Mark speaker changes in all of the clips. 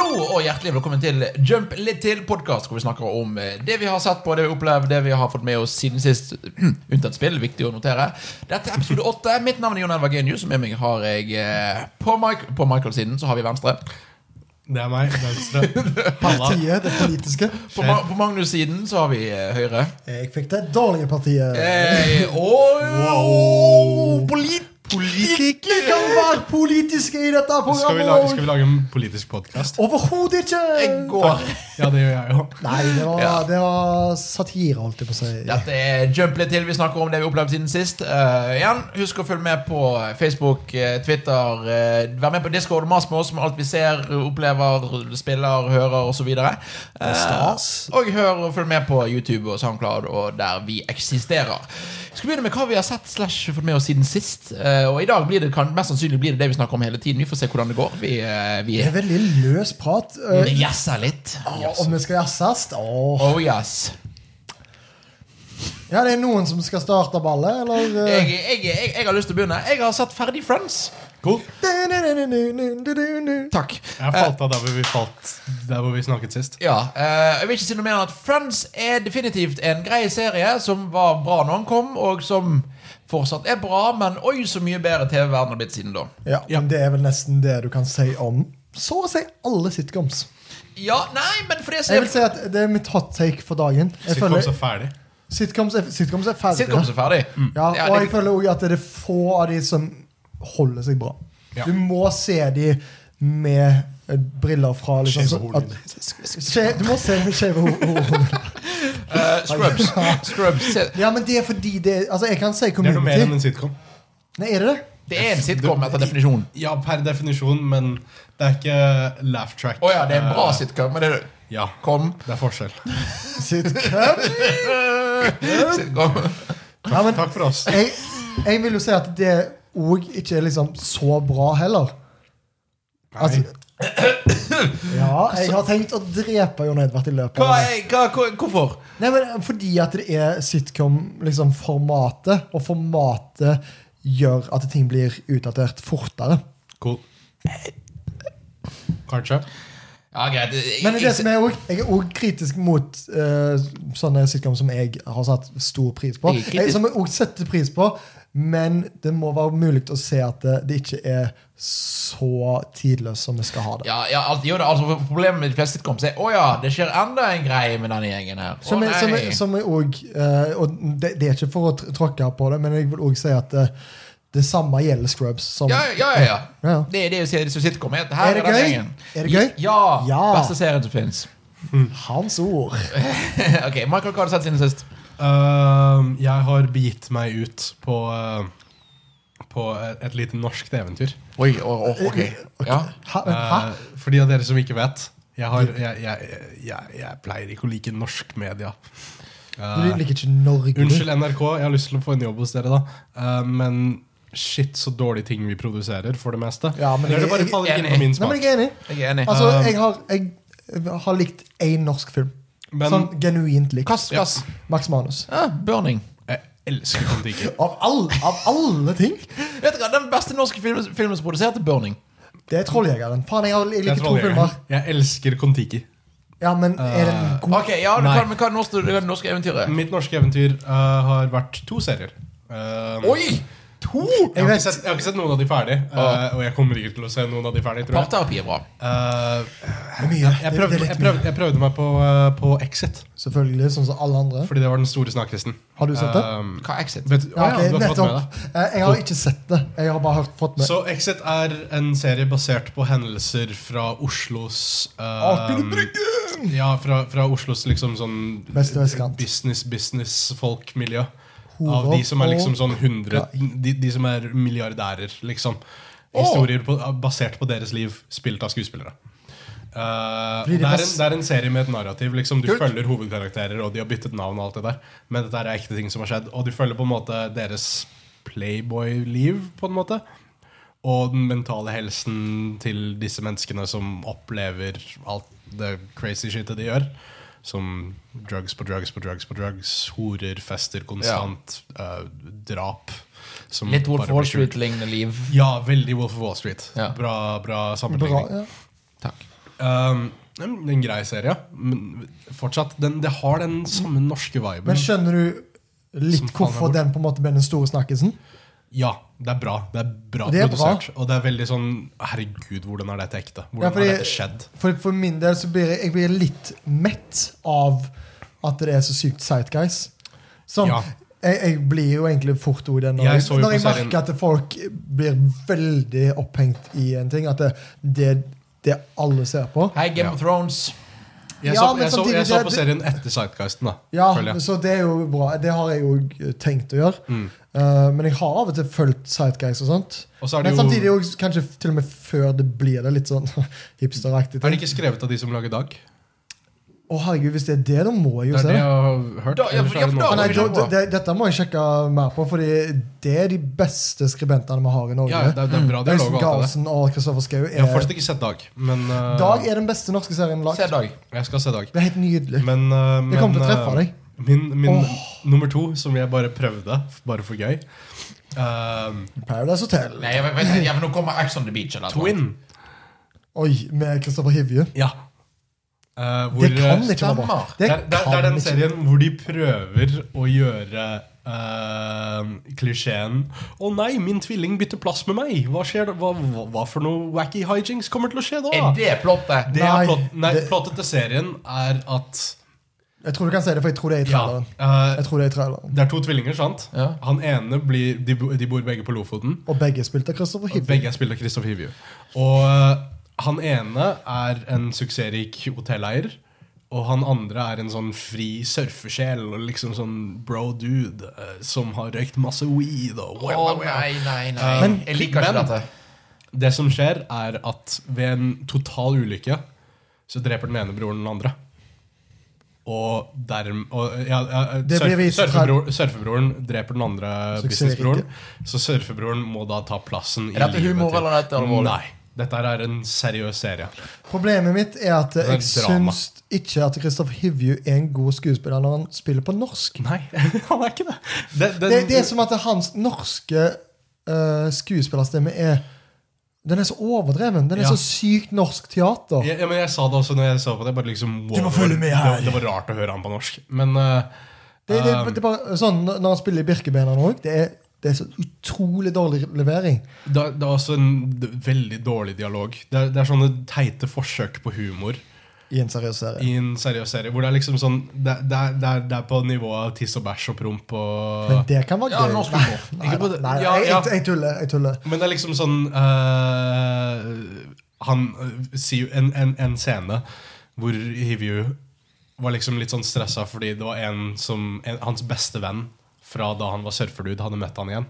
Speaker 1: Hjertelig velkommen til Jump litt til podkast, hvor vi snakker om eh, det vi har sett på, det vi har opplevd, det vi har fått med oss siden sist. Unntatt spill, viktig å notere. Dette er episode åtte. Mitt navn er Jon Elvar Genius, og med meg har jeg eh, På, Mike, på Michael-siden så har vi venstre.
Speaker 2: Det er meg. Venstre.
Speaker 3: Partiet, det politiske.
Speaker 1: På, Ma på Magnus-siden så har vi eh, høyre.
Speaker 3: Jeg fikk det dårlige partiet.
Speaker 1: Eh, og polit
Speaker 3: Politikere kan være politiske i dette
Speaker 2: Skal vi
Speaker 3: programmet!
Speaker 2: lage, skal
Speaker 3: og-
Speaker 2: vi lage en politisk podkast?
Speaker 3: Overhodet ikke!
Speaker 1: Jeg går.
Speaker 2: Ja, det gjør jeg jo.
Speaker 3: Nei, det var,
Speaker 1: Ja.
Speaker 3: det var satire, holdt jeg på å si.
Speaker 1: Dette er Jump litt til. Vi snakker om det vi opplevde siden sist. Eh, igjen, Husk å følge med på Facebook, eh, Twitter. eh, vær med på Discord og mas med oss om alt vi ser, opplever, spiller, hører osv.
Speaker 3: stas.
Speaker 1: Eh, og hør og følg med på YouTube og SoundCloud og der vi eksisterer. Vi skal begynne med hva vi har sett slash fått med oss siden sist. Eh, og i dag blir det kan, mest sannsynlig blir det det vi snakker om hele tiden. Vi får se hvordan det går. Vi, uh, vi
Speaker 3: Det er veldig løs prat. eh,
Speaker 1: vi jazzer litt.
Speaker 3: å, om vi skal jazzes? Åh.
Speaker 1: Oh yes.
Speaker 3: Ja, det er noen som skal starte ballet, eller? eh,
Speaker 1: Jeg, jeg, jeg, jeg har lyst til å begynne. Jeg har sett ferdig Friends.
Speaker 2: Cool.
Speaker 3: du-du-du-du-du-du-du.
Speaker 1: Takk.
Speaker 2: Jeg falt av der hvor vi falt Der hvor vi snakket sist.
Speaker 1: Ja, eh, jeg vil ikke si noe mer enn at Friends er definitivt en grei serie som var bra når den kom, og som fortsatt er bra, men oi, så mye bedre TV-verden har blitt siden da.
Speaker 3: Ja, men det er vel nesten det du kan si om så å si alle sitcoms.
Speaker 1: Ja, nei, men for det som
Speaker 3: Jeg vil
Speaker 1: er
Speaker 3: si at Det er mitt hot take for dagen. Jeg
Speaker 2: Sitcom
Speaker 3: føler,
Speaker 2: så ferdig.
Speaker 3: sitcoms, er, sitcoms er ferdige.
Speaker 1: Sitcoms er ferdig.
Speaker 3: Mm. Ja,
Speaker 1: Ja,
Speaker 3: og jeg
Speaker 1: det-
Speaker 3: føler også at det er få av de som holder seg bra.
Speaker 2: Ja.
Speaker 3: Du må se de med eh, briller fra liksom,
Speaker 2: Skjeve
Speaker 3: så-
Speaker 2: hodet.
Speaker 3: at- Skje- Du må se dem med skjeve ho- ho- hodet.
Speaker 1: eh, Scrubs. Scrubs. se-
Speaker 3: Ja, men det er fordi det er- Altså, jeg kan si
Speaker 2: Det er noe mer enn
Speaker 3: community.
Speaker 2: en sitcom.
Speaker 3: Nei, er det det?
Speaker 1: Det er en sitcom etter definisjon.
Speaker 2: Ja, per definisjon, men det er ikke laugh track.
Speaker 1: Å ja, det er en bra
Speaker 2: Eh,
Speaker 1: sitcom, men det er
Speaker 2: Ja,
Speaker 1: Kom.
Speaker 2: det er forskjell.
Speaker 3: Sitcom? Eh.
Speaker 1: Sitcom.
Speaker 3: Ja, men
Speaker 2: Takk for oss.
Speaker 3: jeg, jeg vil jo si at det òg ikke er liksom så bra heller. Altså, ja, jeg har tenkt å drepe Jon Edvard i løpet
Speaker 1: Hva,
Speaker 3: av det.
Speaker 1: er- hva, hvor- hvorfor?
Speaker 3: Nei, men Fordi at det er sitcom-formatet, og formatet gjør at ting blir utdatert fortere.
Speaker 2: Cool. Kanskje.
Speaker 1: Ja, greit. jeg-
Speaker 3: Men det er det
Speaker 1: jeg-
Speaker 3: som er også, jeg er òg kritisk mot eh, sånne sitcom som jeg har satt stor pris på.
Speaker 1: Jeg er kritisk.
Speaker 3: Jeg, som jeg òg setter pris på, men det må være mulig å se at det, det ikke er så tidløst som vi skal ha det.
Speaker 1: Ja, ja alt, jo, det, altså, Problemet med de fleste sitcoms er å ja, det skjer enda en greie med denne gjengen her. Å,
Speaker 3: Som er, som
Speaker 1: nei.
Speaker 3: er, som er og, eh, og det, det er ikke for å tr- tråkke på det, men jeg vil òg si at det, det samme gjelder Scrubs. Som,
Speaker 1: Ja, ja, ja, ja.
Speaker 3: Ja.
Speaker 1: Det er det jeg sier som sitcom er. Her
Speaker 3: Er
Speaker 1: er,
Speaker 3: det
Speaker 1: den
Speaker 3: gøy?
Speaker 1: gjengen.
Speaker 3: Er det gøy?
Speaker 1: Ja,
Speaker 3: Ja.
Speaker 1: Beste serien som fins.
Speaker 3: Hans ord.
Speaker 1: ok, Michael, hva har du sett siden sist?
Speaker 2: Ehm, jeg har begitt meg ut på eh, På et, et lite norsk eventyr.
Speaker 1: Oi, å- å,
Speaker 3: Eh,
Speaker 1: ok. Ja.
Speaker 3: Hæ? Men, hæ?
Speaker 2: Eh, for de av dere som ikke vet jeg, har, jeg, jeg, jeg, jeg pleier ikke å like norsk media. Eh,
Speaker 3: Du liker ikke Norge? du?
Speaker 2: unnskyld, NRK. Jeg har lyst til å få en jobb hos dere, da. Eh, men shit, så dårlige ting vi produserer, for det meste.
Speaker 3: Ja, men
Speaker 2: Eller
Speaker 3: jeg-
Speaker 2: det bare
Speaker 3: jeg-
Speaker 2: faller ikke
Speaker 1: enig.
Speaker 2: inn på min
Speaker 3: Nei, men
Speaker 2: smak.
Speaker 3: jeg er enig.
Speaker 1: Jeg er enig.
Speaker 3: Altså,
Speaker 2: Um,
Speaker 3: jeg har, jeg har likt én norsk film.
Speaker 2: Men-
Speaker 3: sånn genuint lik.
Speaker 1: Kass, kass.
Speaker 3: Max Manus.
Speaker 1: Ja, burning.
Speaker 2: Jeg elsker Kon-Tiki.
Speaker 3: Av, all, av alle ting!
Speaker 1: Vet du hva, Den beste norske filmen, filmen som produserte Burning.
Speaker 3: Det er Trolljegeren. Faen, jeg, har, jeg
Speaker 2: Jeg
Speaker 3: liker to
Speaker 2: troller
Speaker 3: filmer.
Speaker 2: dere. Jeg elsker Kon-Tiki.
Speaker 3: Ja, men er den
Speaker 2: Uh,
Speaker 3: god?
Speaker 1: Ok, ja, du
Speaker 2: Nei.
Speaker 1: kan, men Hva er det norske, det er det norske eventyret?
Speaker 2: Mitt norske eventyr eh, har vært to serier. Eh,
Speaker 1: Oi! To!
Speaker 2: Jeg har,
Speaker 3: Jeg vet.
Speaker 2: ikke sett, jeg har ikke sett noen av de ferdig, eh, og jeg kommer ikke til å se noen av de ferdig. tror jeg.
Speaker 1: Parterapi er bra.
Speaker 2: Eh,
Speaker 3: Mye.
Speaker 2: jeg,
Speaker 3: Det-
Speaker 2: prøvde,
Speaker 3: det er litt
Speaker 2: jeg, prøvde, jeg prøvde meg på, eh, på Exit,
Speaker 3: mye. Selvfølgelig, sånn som alle andre.
Speaker 2: fordi det var den store snakkristen.
Speaker 3: Har du sett det?
Speaker 2: Eh,
Speaker 1: Hva er Exit?
Speaker 2: vet, du-
Speaker 3: Ja,
Speaker 2: å ja, du
Speaker 3: ok,
Speaker 2: har fått med
Speaker 3: nettopp. Eh, Jeg har ikke sett det. Jeg har bare hørt, fått
Speaker 2: det.
Speaker 3: med
Speaker 2: Så Exit er en serie basert på hendelser fra Oslos eh,
Speaker 3: Arthur Brygge!
Speaker 2: Ja, fra, fra Oslos liksom sånn
Speaker 3: Beste vestkant.
Speaker 2: business-business-folk-miljø. Av
Speaker 3: Horer
Speaker 2: de som er liksom
Speaker 3: og-
Speaker 2: sånn 100 De, de som er milliardærer, liksom. Historier på, basert på deres liv, spilt av skuespillere. Eh,
Speaker 3: Blir det
Speaker 2: det, er en,
Speaker 3: best-
Speaker 2: det er en serie med et narrativ. Liksom, du
Speaker 1: Kult.
Speaker 2: følger hovedkarakterer, og de har byttet navn. og alt det der Men dette er ekte ting som har skjedd. Og du følger på en måte deres playboy-liv. på en måte Og den mentale helsen til disse menneskene som opplever alt det crazy shitet de gjør. Som drugs på drugs på drugs, på drugs horer, fester konstant, eh, drap. som
Speaker 1: Litt Wolf
Speaker 2: bare
Speaker 1: Wall
Speaker 2: blir skjult.
Speaker 1: Street-lignende liv.
Speaker 2: Ja, veldig Wolf of Wall Street.
Speaker 1: Ja.
Speaker 2: Bra, bra
Speaker 3: Bra,
Speaker 2: sammenligning.
Speaker 3: ja.
Speaker 1: Takk.
Speaker 2: Um, Det er en- en grei serie, ja. men fortsatt den, Det har den samme norske viben.
Speaker 3: Men skjønner du
Speaker 2: Mm. Som faen er
Speaker 3: litt hvorfor
Speaker 2: bort.
Speaker 3: den på en måte ble den store snakkisen?
Speaker 2: Ja, det er bra. Det er bra
Speaker 3: Det er bra.
Speaker 2: produsert. Og det er veldig sånn Herregud, hvordan er dette ekte? Hvordan
Speaker 3: Ja, fordi-
Speaker 2: har dette skjedd?
Speaker 3: For, for min del så blir jeg, jeg blir litt mett av at det er så sykt sightguys. Sånn,
Speaker 2: Ja.
Speaker 3: jeg, jeg blir jo egentlig fort ord i det når
Speaker 2: Jeg
Speaker 3: jeg,
Speaker 2: så jo på
Speaker 3: når jeg
Speaker 2: serien-
Speaker 3: merker at folk blir veldig opphengt i en ting. At det, det, det alle ser på.
Speaker 1: Hei, Game
Speaker 2: Ja.
Speaker 1: of Thrones.
Speaker 2: Jeg,
Speaker 3: Ja,
Speaker 2: så,
Speaker 3: men
Speaker 2: jeg, så,
Speaker 3: samtidig,
Speaker 2: jeg så
Speaker 3: det-
Speaker 2: på serien etter Sightguisten, da.
Speaker 3: Ja,
Speaker 2: føler jeg. Mm.
Speaker 3: så det er jo bra. Det har jeg jo tenkt å gjøre. Eh, men jeg har av og til fulgt Sightguys og sånt.
Speaker 2: Og så er det
Speaker 3: Men
Speaker 2: jo-
Speaker 3: samtidig jo kanskje til og med før det blir det litt sånn hipsteraktig.
Speaker 2: Er det ikke skrevet av de som lager Dag?
Speaker 3: Å herregud, Hvis det er det, da må
Speaker 2: Det
Speaker 3: jeg jo
Speaker 2: er det
Speaker 3: se det.
Speaker 2: jeg har hørt.
Speaker 1: Da- ja,
Speaker 2: ellers
Speaker 1: for-
Speaker 2: er det
Speaker 1: ja, for
Speaker 2: noe
Speaker 1: da-
Speaker 3: Men nei,
Speaker 2: annet.
Speaker 1: det
Speaker 3: da,
Speaker 1: er bra.
Speaker 3: det, dette må jeg sjekke mer på, Fordi det er de beste skribentene vi har i Norge.
Speaker 2: ja, det, er- det er bra dialog
Speaker 3: Øystein
Speaker 2: og alt det der.
Speaker 3: Garsen og Kristoffer Schou
Speaker 2: Jeg har
Speaker 3: Mm. er
Speaker 2: fortsatt ikke sett Dag, men eh,
Speaker 3: Dag er den beste norske serien lagd.
Speaker 1: Se Dag.
Speaker 2: jeg skal se Dag.
Speaker 3: Det er helt nydelig.
Speaker 2: Men, eh, men
Speaker 3: Jeg kommer til å
Speaker 2: eh,
Speaker 3: treffe deg.
Speaker 2: Min, min nummer to, som jeg bare prøvde, bare for gøy eh,
Speaker 3: Paradise Hotel.
Speaker 1: Nei, jeg vet, vet, jeg, men nå kommer Ax on the Beach. Eller noe.
Speaker 2: Twin.
Speaker 3: Oi, med Kristoffer Hivju.
Speaker 2: Ja. Eh, hvor,
Speaker 3: Det kan
Speaker 2: eh,
Speaker 3: ikke være bra.
Speaker 1: stemmer.
Speaker 2: Det, er- det, er- det er
Speaker 3: kan
Speaker 2: den
Speaker 3: ikke-
Speaker 2: serien hvor de prøver å gjøre eh, klisjeen 'Å nei, min tvilling bytter plass med meg'. Hva skjer da? Hva, hva, hva for noe wacky hijinks kommer til å skje da?
Speaker 1: Er det plottet?
Speaker 2: Det er
Speaker 3: Nei,
Speaker 2: plott, nei,
Speaker 3: det-
Speaker 2: plottet til serien er at
Speaker 3: Jeg tror du kan si det, for jeg tror det er i
Speaker 2: ja,
Speaker 3: traileren.
Speaker 2: eh,
Speaker 3: Jeg tror det er i traileren.
Speaker 2: Det er to tvillinger, sant?
Speaker 1: Ja.
Speaker 2: Han ene blir, de, bo- de bor begge på Lofoten.
Speaker 3: Og begge spilte Kristoffer
Speaker 2: Og
Speaker 3: Hivju.
Speaker 2: Begge er spilt av Christopher Hivju. Og eh, han ene er en suksessrik hotelleier. Og han andre er en sånn fri surfesjel og liksom sånn bro dude eh, som har røykt masse weed. Og
Speaker 1: Å nei, nei, nei.
Speaker 3: Eh,
Speaker 2: Men-
Speaker 1: Eh, jeg liker ikke
Speaker 2: men-
Speaker 1: dette.
Speaker 2: Det som skjer, er at ved en total ulykke så dreper den ene broren den andre. Og derm... Og, ja, ja, eh,
Speaker 3: Det blir
Speaker 2: surf,
Speaker 3: vist her.
Speaker 2: surfebror, surfebroren dreper den andre
Speaker 3: Suksessrike.
Speaker 2: businessbroren. Så surfebroren må da ta plassen i
Speaker 1: Er dette humor,
Speaker 2: til-
Speaker 1: eller er dette alvorlig?
Speaker 2: Nei. Dette her er en seriøs serie.
Speaker 3: Problemet mitt er at
Speaker 2: er
Speaker 3: jeg
Speaker 2: drama.
Speaker 3: syns ikke at Kristoffer Hivju er en god skuespiller når han spiller på norsk.
Speaker 2: Nei, han er ikke det. Det, det,
Speaker 3: Det, det er som at hans norske eh, skuespillerstemme er Den er så overdreven. Den er
Speaker 2: Ja.
Speaker 3: så sykt norsk teater.
Speaker 2: ja, ja, men jeg sa det også når jeg så på det. Bare liksom, wow,
Speaker 3: Du må følge med
Speaker 2: det-
Speaker 3: her.
Speaker 2: Det, var rart å høre han på norsk. Men eh,
Speaker 3: Det, det, det er bare sånn Når han spiller i Birkebeinerne òg, det, er- det er så utrolig dårlig levering.
Speaker 2: Det, er- det er også en d- veldig dårlig dialog. Det er, det er sånne teite forsøk på humor
Speaker 3: I en seriøs serie.
Speaker 2: i en seriøs serie. Hvor Det er liksom sånn Det, det, er- det, er, det er på nivået av tiss og bæsj og promp
Speaker 3: Men
Speaker 2: og
Speaker 3: det kan være
Speaker 1: Ja,
Speaker 3: gøy.
Speaker 1: norsk
Speaker 3: Nei,
Speaker 1: humor.
Speaker 3: nei,
Speaker 2: Ikke på det.
Speaker 3: nei, nei,
Speaker 2: Ja,
Speaker 3: jeg,
Speaker 2: ja.
Speaker 3: jeg, jeg tuller. Jeg tuller.
Speaker 2: Men det er liksom sånn eh, Han eh, sier jo en, en, en scene hvor Hivju var liksom litt sånn stressa fordi det var en som en, Hans beste venn fra da han var surferdude, hadde møtt han igjen.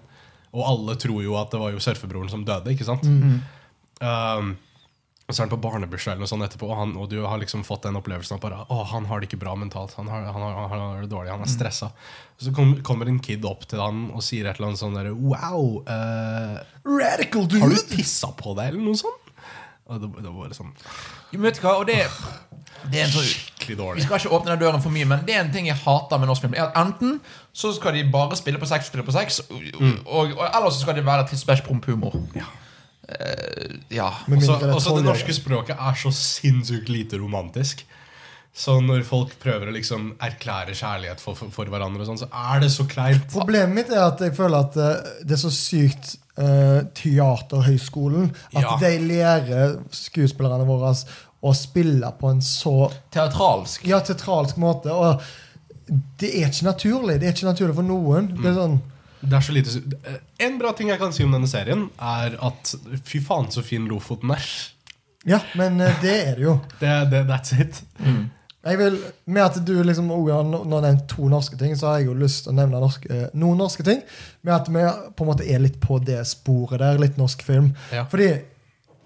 Speaker 2: Og alle tror jo at det var jo surfebroren som døde, ikke sant? Um, og så er han på barnebursdag eller noe sånt etterpå, og, han, og du har liksom fått den opplevelsen at bare, å, han har det ikke bra mentalt. Han har, han har, han har det dårlig, han er stressa. Så kom, kommer en kid opp til han og sier et eller annet sånn derre Wow, eh,
Speaker 3: Radical
Speaker 2: har du tissa på deg, eller noe sånt? Og det, det var bare sånn
Speaker 1: Men Vet du hva, og det, det er en sånn
Speaker 2: skikkelig
Speaker 1: Vi
Speaker 2: dårlig.
Speaker 1: skal ikke åpne den døren for mye, men det er en ting jeg hater med norsk film. Er at Enten så skal de bare spille på sex, spille på sex, og,
Speaker 3: Mm.
Speaker 1: og, og eller så skal det være til smash promp humor.
Speaker 2: Ja.
Speaker 1: Eh, ja.
Speaker 3: Med
Speaker 2: Også,
Speaker 3: mindre det er
Speaker 2: også det
Speaker 3: tolv
Speaker 2: norske språket er så sinnssykt lite romantisk. Så når folk prøver å liksom erklære kjærlighet for, for, for hverandre, og sånn, så er det så kleint.
Speaker 3: Problemet mitt er at jeg føler at eh, det er så sykt eh, Teaterhøgskolen. At
Speaker 2: Ja.
Speaker 3: de lærer skuespillerne våre å spille på en så
Speaker 1: Teatralsk.
Speaker 3: ja, teatralsk måte. Og det er ikke naturlig. Det er ikke naturlig for noen. Det er sånn,
Speaker 2: Det er så lite su- Eh, En bra ting jeg kan si om denne serien, er at fy faen så fin Lofoten er.
Speaker 3: ja, men eh, det er det jo.
Speaker 2: Det, det, that's it.
Speaker 3: Jeg vil, Med at du liksom også har nå nå nevnt to norske ting, så har jeg jo lyst til å nevne norske, eh, noen norske ting. Med at vi på en måte er litt på det sporet der. Litt norsk film.
Speaker 2: Ja.
Speaker 3: Fordi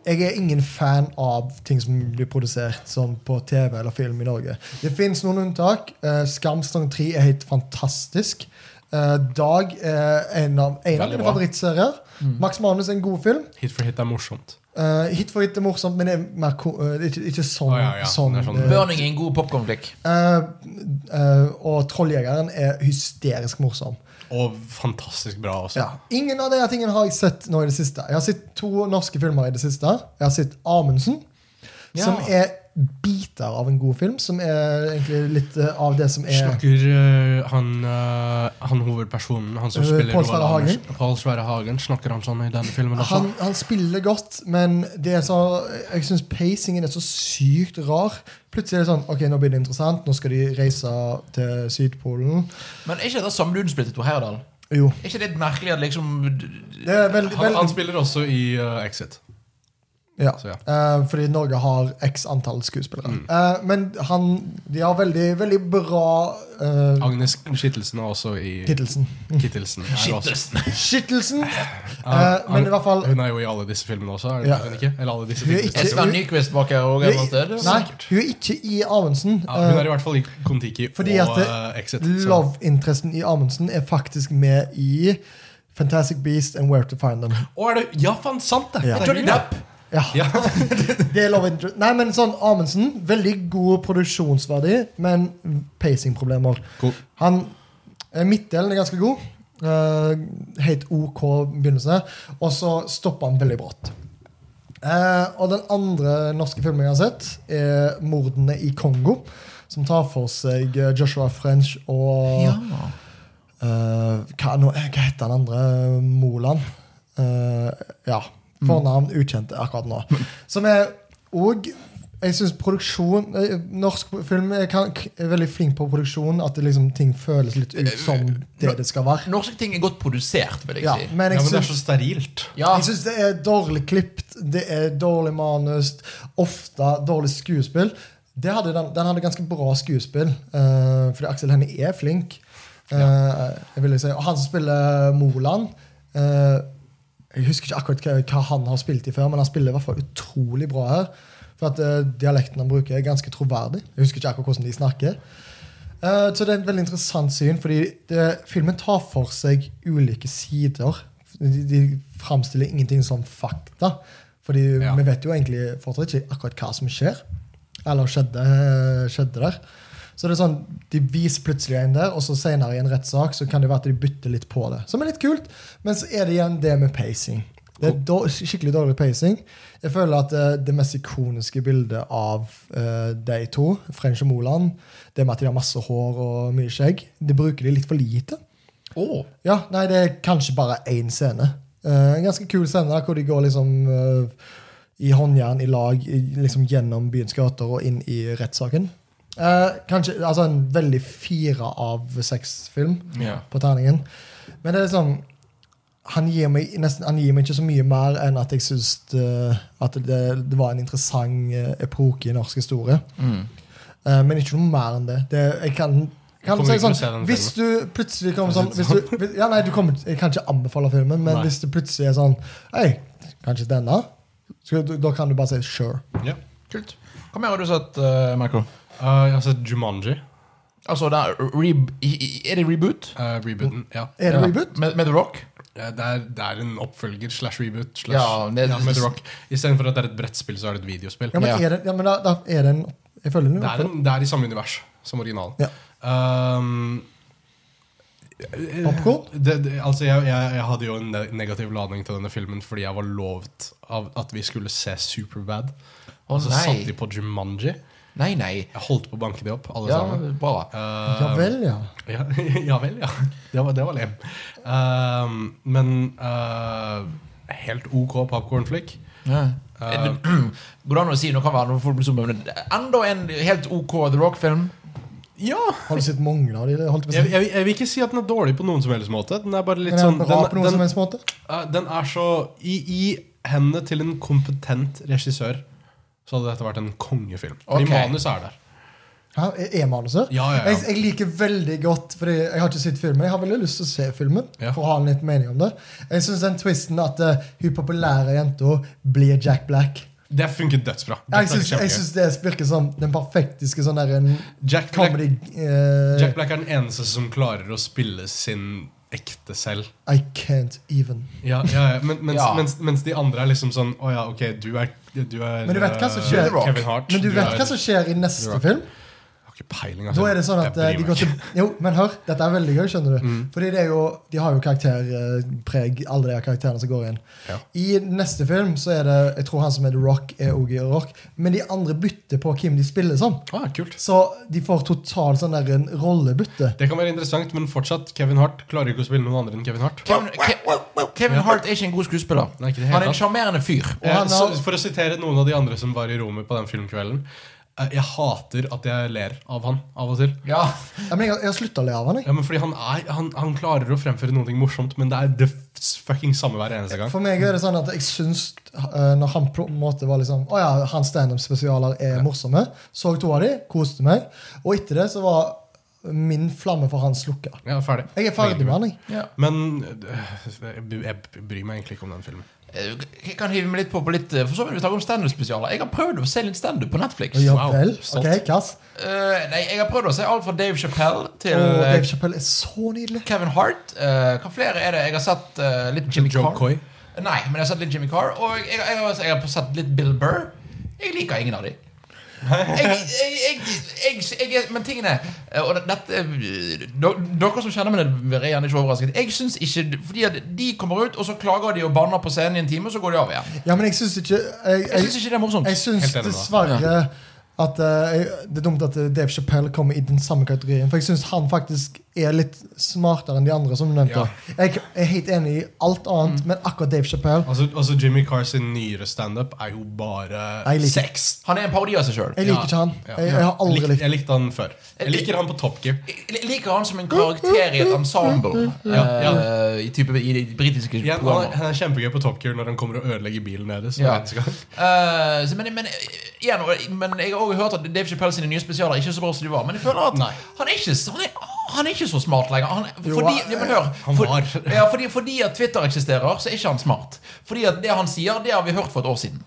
Speaker 3: jeg er ingen fan av ting som blir produsert sånn på TV eller film i Norge. Det fins noen unntak. Eh, Skamstang 3 er helt fantastisk. Eh, Dag er en av, en av
Speaker 2: Veldig
Speaker 3: mine
Speaker 2: bra. Mm.
Speaker 3: favorittserier. Max Manus er en god film.
Speaker 2: Hit for hit er morsomt.
Speaker 3: Eh, hit for hit er morsomt, men det er mer, ko- eh, det er ikke, ikke sånn.
Speaker 2: Å, ja, ja.
Speaker 3: sånn,
Speaker 2: Det er sånn-
Speaker 3: eh,
Speaker 1: Burning i en god popkornklikk.
Speaker 3: Eh, eh, og Trolljegeren er hysterisk morsom.
Speaker 2: Og fantastisk bra også.
Speaker 3: Ja. Ingen av de her tingene har jeg sett nå i det siste. Jeg har sett to norske filmer i det siste. Jeg har sett Amundsen,
Speaker 1: Ja.
Speaker 3: som er biter av en god film, som er egentlig litt eh, av det som er
Speaker 2: Snakker eh, han, eh, han hovedpersonen, han som
Speaker 3: Eh,
Speaker 2: spiller
Speaker 3: Pål Sverre
Speaker 2: Roald
Speaker 3: Hagen?
Speaker 2: Andersen- Pål Sverre Hagen, snakker han sånn i denne filmen også?
Speaker 3: han, han spiller godt, men det er så, jeg syns pacingen er så sykt rar. Plutselig er det sånn Ok, nå blir det interessant. Nå skal de reise til Sydpolen.
Speaker 1: Men er ikke det samme du spilte i Tor Heyerdahl?
Speaker 3: Jo.
Speaker 1: Er ikke det merkelig at liksom
Speaker 3: Det er veldig,
Speaker 2: han, han
Speaker 3: veldig
Speaker 2: spiller også i eh, Exit.
Speaker 3: Ja.
Speaker 2: Så ja. Mm.
Speaker 3: Eh, fordi Norge har x antall skuespillere. Eh, men han De har veldig, veldig bra uh,
Speaker 2: Agnes Skittelsen er også i
Speaker 3: Kittelsen.
Speaker 2: Kittelsen. er også-
Speaker 3: Skittelsen!
Speaker 2: Ja,
Speaker 3: Eh, men i hvert fall
Speaker 2: Hun er jo i alle disse filmene også, er det
Speaker 3: Ja.
Speaker 2: hun ikke? Eller alle disse
Speaker 3: Hun er
Speaker 2: tingene.
Speaker 3: ikke-
Speaker 1: Sven Nyquist bak her òg?
Speaker 3: Hun er, nei, hun er ikke i Amundsen.
Speaker 2: Ja, hun er
Speaker 3: Eh,
Speaker 2: i hvert fall i Kon-Tiki og
Speaker 3: fordi at det-
Speaker 2: eh, Exit. så-
Speaker 3: Love-interessen i Amundsen er faktisk med i Fantastic Beast and Where to Find Them.
Speaker 2: Å, er det Ja, faen, sant det!
Speaker 3: Ja.
Speaker 2: Det er
Speaker 1: Johnny
Speaker 2: hun, ja.
Speaker 1: Depp!
Speaker 3: Ja,
Speaker 2: Ja.
Speaker 3: det er love interest. Nei, men sånn, Amundsen, veldig god produksjonsverdi, men pacing-problemer.
Speaker 2: Cool.
Speaker 3: Han, eh, Midtdelen er ganske god. eh, helt OK begynnelse. Og så stopper han veldig brått. Eh, og den andre norske filmen jeg har sett, er 'Mordene i Kongo'. Som tar for seg eh, Joshua French og
Speaker 1: Ja.
Speaker 3: Eh, hva, nå, hva heter den andre? Moland? Eh, ja. Fornavn ukjent akkurat nå. Som er òg Jeg syns produksjon eh, Norsk film er, kan, er veldig flink på produksjon. At det liksom, ting føles litt ut som det det skal være.
Speaker 1: Norske ting er godt produsert, vil jeg
Speaker 3: eh, Ja,
Speaker 1: si.
Speaker 3: men
Speaker 2: ja, men det
Speaker 3: jeg
Speaker 2: er så
Speaker 3: syns
Speaker 2: sterilt.
Speaker 1: Ja,
Speaker 3: jeg syns det er dårlig klipt, det er dårlig manus, ofte dårlig skuespill. Det hadde den, den hadde ganske bra skuespill, eh, fordi Aksel Hennie er flink. eh, jeg vil si. Og han som spiller Moland eh, Jeg husker ikke akkurat hva, hva han har spilt i før, men han spiller i hvert fall utrolig bra her. For at eh, dialekten han bruker, er ganske troverdig. Jeg husker ikke akkurat hvordan de snakker. Eh, så det er et veldig interessant syn, fordi det, filmen tar for seg ulike sider. De, de framstiller ingenting som fakta. Fordi
Speaker 2: Ja.
Speaker 3: vi vet jo egentlig fortsatt ikke akkurat hva som skjer. Eller skjedde, skjedde der. Så det er sånn, De viser plutselig en der, og så senere i en rettssak så kan det være at de bytter litt på det. Som er litt kult, men så er det igjen det med pacing. Det er dår- skikkelig dårlig pacing. Jeg føler at eh, det mest ikoniske bildet av eh, de to, French og Moland, det med at de har masse hår og mye skjegg, det bruker de litt for lite.
Speaker 1: Åh.
Speaker 3: Ja, nei, det er kanskje bare én scene. Eh, en ganske kul scene der, hvor de går liksom eh, i håndjern i lag i, liksom gjennom byens gater og inn i rettssaken. Eh, kanskje, altså En veldig fire av seks-film
Speaker 2: Ja.
Speaker 3: på terningen. Men det er liksom han gir, meg, nesten, han gir meg ikke så mye mer enn at jeg syns det, at det, det var en interessant eh, epoke i norsk historie.
Speaker 1: Mm.
Speaker 3: Eh, men ikke noe mer enn det. det jeg kan, kan
Speaker 2: Kommer
Speaker 3: si
Speaker 2: ikke
Speaker 3: sånn,
Speaker 2: til å se den
Speaker 3: hvis du plutselig kommer sånn hvis du, hvis, ja, nei, du kommer, Jeg kan ikke anbefale filmen, men
Speaker 2: Nei.
Speaker 3: hvis det plutselig er sånn Hei, kanskje denne? Så, du- da kan du bare si sure.
Speaker 2: Ja.
Speaker 1: Kult. Hva mer har du sett, eh, Michael?
Speaker 2: Eh, jeg har sett Jumanji,
Speaker 1: Altså, det er, re i- i- er det reboot?
Speaker 2: eh, rebooten. Ja.
Speaker 3: Er det
Speaker 1: Ja.
Speaker 3: reboot?
Speaker 1: Med, med The Rock?
Speaker 2: Eh, Det, er, det er en oppfølger slash reboot slash
Speaker 1: Ja,
Speaker 2: ja,
Speaker 1: det-
Speaker 2: med The Rock. Istedenfor at det er et brettspill, så er det et videospill.
Speaker 3: Ja, men,
Speaker 1: Ja.
Speaker 3: Er det, ja, men da, da er det en Jeg føler den
Speaker 2: Det er, en, det er i samme univers som originalen.
Speaker 3: Ja.
Speaker 2: Um, eh,
Speaker 3: Popcorn?
Speaker 2: det, det, altså jeg, jeg, jeg hadde jo en ne- negativ ladning til denne filmen fordi jeg var lovet av at vi skulle se Superbad.
Speaker 1: Å,
Speaker 2: og så
Speaker 1: nei.
Speaker 2: satt de på Jumanji.
Speaker 1: Nei, nei.
Speaker 2: Jeg holdt på å banke de opp, alle
Speaker 1: Ja,
Speaker 2: sammen.
Speaker 1: bra.
Speaker 2: Uh,
Speaker 3: Ja vel, ja.
Speaker 2: ja, ja vel, ja. Det var, det var lem. Um, men uh, helt OK popkornflikk.
Speaker 1: Ja. Er det- Går det an å si noe kan være noe folk blir summa, men Enda en helt OK The Rock-film.
Speaker 2: Ja!
Speaker 3: Har du sett mange av de? det Holdt jeg på å
Speaker 2: Jeg,
Speaker 3: si?
Speaker 2: jeg, jeg vil ikke si at den er dårlig på noen som helst måte. Den er bare litt
Speaker 3: Men er
Speaker 2: sånn
Speaker 3: den bra på
Speaker 2: den,
Speaker 3: noen som
Speaker 2: den,
Speaker 3: helst måte?
Speaker 2: eh, den er så i, I hendene til en kompetent regissør så hadde dette vært en kongefilm. Fordi
Speaker 1: Ok.
Speaker 2: manus er der.
Speaker 3: Hæ, er- er manuset?
Speaker 2: Ja, ja, ja.
Speaker 3: Jeg, jeg liker veldig godt Fordi jeg har ikke sett filmen. Jeg har veldig lyst til å se filmen.
Speaker 2: Ja.
Speaker 3: For å ha en litt mening om det Jeg syns den twisten at eh, hun populære jenta blir Jack Black
Speaker 2: Det funket dødsbra.
Speaker 3: Jeg
Speaker 2: Dette er
Speaker 3: syns- jeg
Speaker 2: kjempegøy.
Speaker 3: syns det virker som den perfektiske sånn der en
Speaker 2: Jack Black-
Speaker 3: comedy eh,
Speaker 2: Jack Black er den eneste som klarer å spille sin ekte selv.
Speaker 3: I can't even.
Speaker 2: Ja, ja, ja. Men, mens,
Speaker 1: Ja.
Speaker 2: Mens, mens de andre er liksom sånn Å ja, ok, du er, du er
Speaker 3: Men du vet hva som
Speaker 2: eh,
Speaker 3: skjer.
Speaker 2: Kevin Hart.
Speaker 3: Men du vet
Speaker 2: er-
Speaker 3: hva som skjer i neste
Speaker 2: Rock.
Speaker 3: film?
Speaker 2: Ok, ikke peiling. altså.
Speaker 3: Da er Mm. det sånn at eh,
Speaker 2: jeg
Speaker 3: de
Speaker 2: bryr
Speaker 3: går
Speaker 2: meg
Speaker 3: til
Speaker 2: ikke.
Speaker 3: Jo, men hør, dette er veldig gøy, skjønner du. Fordi det er jo, de har jo karakterpreg, alle de her karakterene som går inn.
Speaker 2: Ja.
Speaker 3: I neste film så er det Jeg tror han som er The Rock, er OG Rock. Men de andre bytter på hvem de spiller som.
Speaker 2: Ah, kult.
Speaker 3: Så de får totalt sånn der en rollebytte.
Speaker 2: Det kan være interessant, men fortsatt, Kevin Hart klarer ikke å spille noen andre enn Kevin Hart.
Speaker 1: Kevin, Ke- Kevin Hart er ikke en god skuespiller.
Speaker 2: Nei, ikke det hele
Speaker 1: Han er en
Speaker 2: tatt.
Speaker 1: sjarmerende fyr.
Speaker 3: Og han
Speaker 2: Eh, så,
Speaker 3: har-
Speaker 2: for å sitere noen av de andre som var i rommet på den filmkvelden eh, Jeg hater at jeg ler av han av og til.
Speaker 1: Ja.
Speaker 3: Ja, men jeg, har- jeg har slutta å le av han, jeg.
Speaker 2: Ja, men fordi han, er, han, han klarer å fremføre noe morsomt, men det er det f- fucking samme hver eneste gang.
Speaker 3: For meg er det sånn at jeg syns eh, Når han på en måte var liksom Å ja, hans standup-spesialer er morsomme. Så to av de, koste meg. Og etter det så var min flamme for han slukka.
Speaker 2: Ja, ferdig.
Speaker 3: Jeg er ferdig med han, jeg.
Speaker 1: ja.
Speaker 2: Men eh, jeg jeg bryr meg egentlig ikke om den filmen.
Speaker 1: Eh, Jeg kan hive meg litt på på litt eh, For så vidt vi snakker om standup-spesialer. Jeg har prøvd å se litt standup på Netflix.
Speaker 3: Ja
Speaker 2: Wow,
Speaker 3: vel.
Speaker 2: stolt.
Speaker 3: Ok, Kass.
Speaker 1: Eh, nei, jeg har prøvd å se alt fra Dave Chappelle til
Speaker 3: Og
Speaker 1: eh,
Speaker 3: Dave Chappelle er så nydelig.
Speaker 1: Kevin Hart. Eh, hva flere er det? Jeg har sett eh, litt Jimmy
Speaker 2: Joe
Speaker 1: Carr.
Speaker 2: Coy.
Speaker 1: Nei, men jeg har sett litt Jimmy Carr Og jeg, jeg, har- jeg har sett litt Bill Burr. Jeg liker ingen av dem. Jeg, jeg, jeg, jeg, jeg, men tingene eh, Og dette eh, do- Dere som kjenner meg, er gjerne ikke overrasket. Jeg synes ikke Fordi at de kommer ut, og så klager de og banner på scenen i en time, og så går de av igjen.
Speaker 3: Ja, men jeg syns ikke Jeg,
Speaker 1: Jeg
Speaker 3: jeg,
Speaker 1: synes ikke det er morsomt.
Speaker 3: jeg
Speaker 2: Helt
Speaker 3: syns
Speaker 2: enig med deg.
Speaker 3: dessverre at eh, jeg- det er dumt at eh, Dave Chappelle kommer i den samme kategorien. For jeg syns han faktisk er litt smartere enn de andre. som du nevnte
Speaker 2: Ja.
Speaker 3: Jeg er helt enig i alt annet, men akkurat Dave Chappelle
Speaker 2: Altså, altså Jimmy Carr sin nyere standup er jo bare
Speaker 3: Jeg liker-
Speaker 2: sex.
Speaker 1: Han er en parodi av seg sjøl.
Speaker 3: Jeg liker ikke han.
Speaker 2: Ja.
Speaker 3: Jeg, jeg har
Speaker 2: Jeg
Speaker 3: aldri
Speaker 2: likte,
Speaker 3: likt
Speaker 2: jeg likte han før. Jeg liker han på Top Gear.
Speaker 1: Jeg liker han som en karakter i et ensemble.
Speaker 2: ja.
Speaker 1: eh, i, type, I de britiske
Speaker 2: Ja, han, er,
Speaker 1: programmer.
Speaker 2: han er kjempegøy på Top Gear når han kommer og ødelegger bilen deres.
Speaker 1: Ja.
Speaker 2: hver eneste gang.
Speaker 1: Eh, så, men, men, igjen, og- men jeg har også hørt at Dave Chappelle sine nye spesialer ikke er så bra som de var. Men jeg føler at
Speaker 2: Nei.
Speaker 1: han er, ikke, så- han, er, han er ikke så smart lenger. Han,
Speaker 3: Jo,
Speaker 1: fordi,
Speaker 3: han-
Speaker 1: ja, men hør,
Speaker 2: eh, han
Speaker 1: for-
Speaker 2: var.
Speaker 1: ja, fordi, fordi at Twitter eksisterer, så er ikke han smart. Fordi at det han sier, det har vi hørt for et år siden.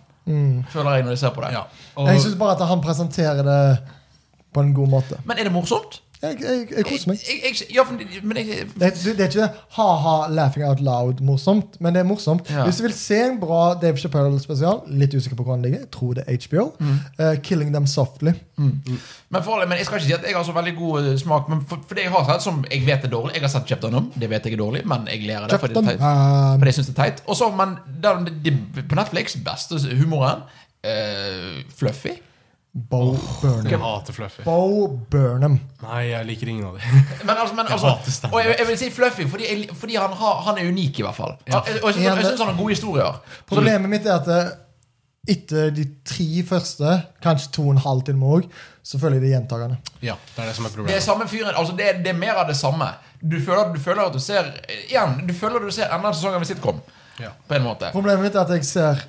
Speaker 1: Føler jeg når jeg ser på det.
Speaker 2: Mm. Ja. Og,
Speaker 3: Jeg syns bare at han presenterer det på en god måte.
Speaker 1: Men er det morsomt?
Speaker 3: Jeg, jeg, jeg koser meg.
Speaker 1: Jeg, jeg, ja, for- men jeg,
Speaker 3: Det, det det er ikke ha-ha, laughing out loud-morsomt, men det er morsomt.
Speaker 1: Ja.
Speaker 3: Hvis du vil se en bra Dave Chappelle-spesial, litt usikker på hvor den ligger, jeg tror det er HBO, eh, 'Killing Them Softly'.
Speaker 1: Men, for, men Jeg skal ikke si at jeg har så veldig god eh, smak, men for, for det jeg har sett som jeg vet er dårlig Jeg har sett Jeff Dunham, det vet jeg er dårlig, men jeg ler av det. Fordi
Speaker 3: Kjeften,
Speaker 1: det er teit.
Speaker 3: eh,
Speaker 1: Fordi jeg synes det er teit. Og så, men den, de, på Netflix, beste humoren eh, Fluffy.
Speaker 3: Bo
Speaker 2: jeg
Speaker 3: Burnham.
Speaker 2: hater Fluffy.
Speaker 3: Bo Burnham.
Speaker 2: Nei, jeg liker ingen av dem.
Speaker 1: Men altså, men,
Speaker 2: Jeg
Speaker 1: altså
Speaker 2: hater standup.
Speaker 1: Og jeg, jeg vil si Fluffy, fordi, jeg, fordi han, har, han er unik, i hvert fall. Og jeg, og jeg, synes- jeg syns han har gode historier.
Speaker 3: Problemet mitt er at eh, etter de tre første, kanskje to og en halv til òg, så føler jeg det er gjentagende.
Speaker 2: Ja, det er det som
Speaker 1: Det
Speaker 2: er
Speaker 1: er
Speaker 2: problemet.
Speaker 1: samme fyren, altså det, er- det er mer av det samme. Du føler, du føler at du ser Igjen, du føler at du ser enda en sesong av en sitcom.
Speaker 2: Ja.
Speaker 1: På en måte.
Speaker 3: Problemet mitt er at jeg ser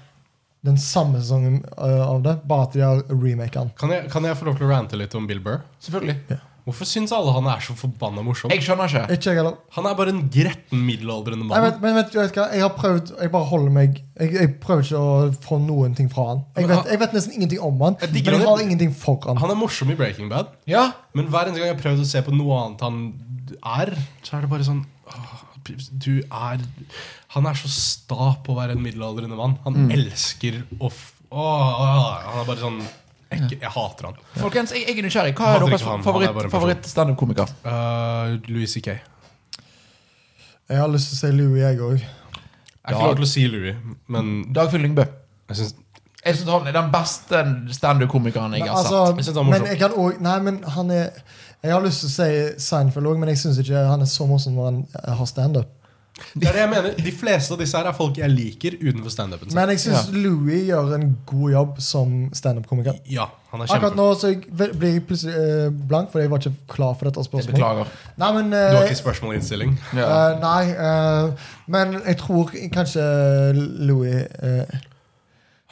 Speaker 3: den samme sesongen øh, av det, bare at de har remake den.
Speaker 2: Kan, jeg, kan jeg få lov til å rante litt om Bill Burr?
Speaker 1: Selvfølgelig.
Speaker 2: Hvorfor syns alle han er så forbanna morsom?
Speaker 1: Jeg skjønner ikke.
Speaker 3: Ikke jeg heller.
Speaker 2: Han er bare en gretten middelaldrende
Speaker 3: Nei,
Speaker 2: mann.
Speaker 3: vet, men vet du vet du hva, jeg har prøvd Jeg bare holder meg Jeg, jeg prøver ikke å få noen ting fra han. Jeg
Speaker 2: Men
Speaker 3: vet, jeg vet nesten ingenting om han,
Speaker 2: Jeg
Speaker 3: men
Speaker 2: digger
Speaker 3: jeg
Speaker 2: han.
Speaker 3: har ingenting for han.
Speaker 2: Han er morsom i Breaking Bad,
Speaker 1: Ja,
Speaker 2: men hver eneste gang jeg har prøvd å se på noe annet han er, så er det bare sånn åh, Du er Han er så sta på å være en middelaldrende mann. Han
Speaker 3: Mm.
Speaker 2: elsker å f... Åh, åh, han er bare sånn Jeg, jeg hater han.
Speaker 1: Folkens, jeg, jeg er nysgjerrig. Hva er
Speaker 2: Hater
Speaker 1: deres
Speaker 2: ikke han, han
Speaker 1: favoritt,
Speaker 2: er bare en person.
Speaker 1: favoritt standup-komiker?
Speaker 2: Uh, Louis C.K. Jeg
Speaker 3: Jeg har lyst til å si Louis, jeg òg.
Speaker 2: har ikke
Speaker 1: Ja.
Speaker 2: lov til å si Louis, men
Speaker 1: Dagfinn Lyngbø.
Speaker 2: jeg syns
Speaker 1: Jeg synes han er den beste standup-komikeren jeg har sett.
Speaker 2: Jeg synes
Speaker 3: Altså,
Speaker 2: han er morsom.
Speaker 3: men jeg kan òg Nei, men han er Jeg har lyst til å si Seinfeld òg, men jeg syns ikke han er så morsom når han eh, har standup.
Speaker 2: Det er det jeg mener. De fleste av disse her er folk jeg liker utenfor standupen sin.
Speaker 3: Men jeg syns Louis gjør en god jobb som standup-komiker.
Speaker 2: Ja, han er
Speaker 3: Akkurat
Speaker 2: kjempe...
Speaker 3: nå så jeg ve- blir jeg plutselig eh, blank, fordi jeg var ikke klar for dette
Speaker 1: Jeg
Speaker 3: spørsmålet.
Speaker 1: beklager.
Speaker 3: Nei, men,
Speaker 2: Du
Speaker 3: eh,
Speaker 2: har ikke spørsmålinnstilling?
Speaker 1: Ja.
Speaker 3: eh, nei eh, men jeg tror kanskje Louis eh,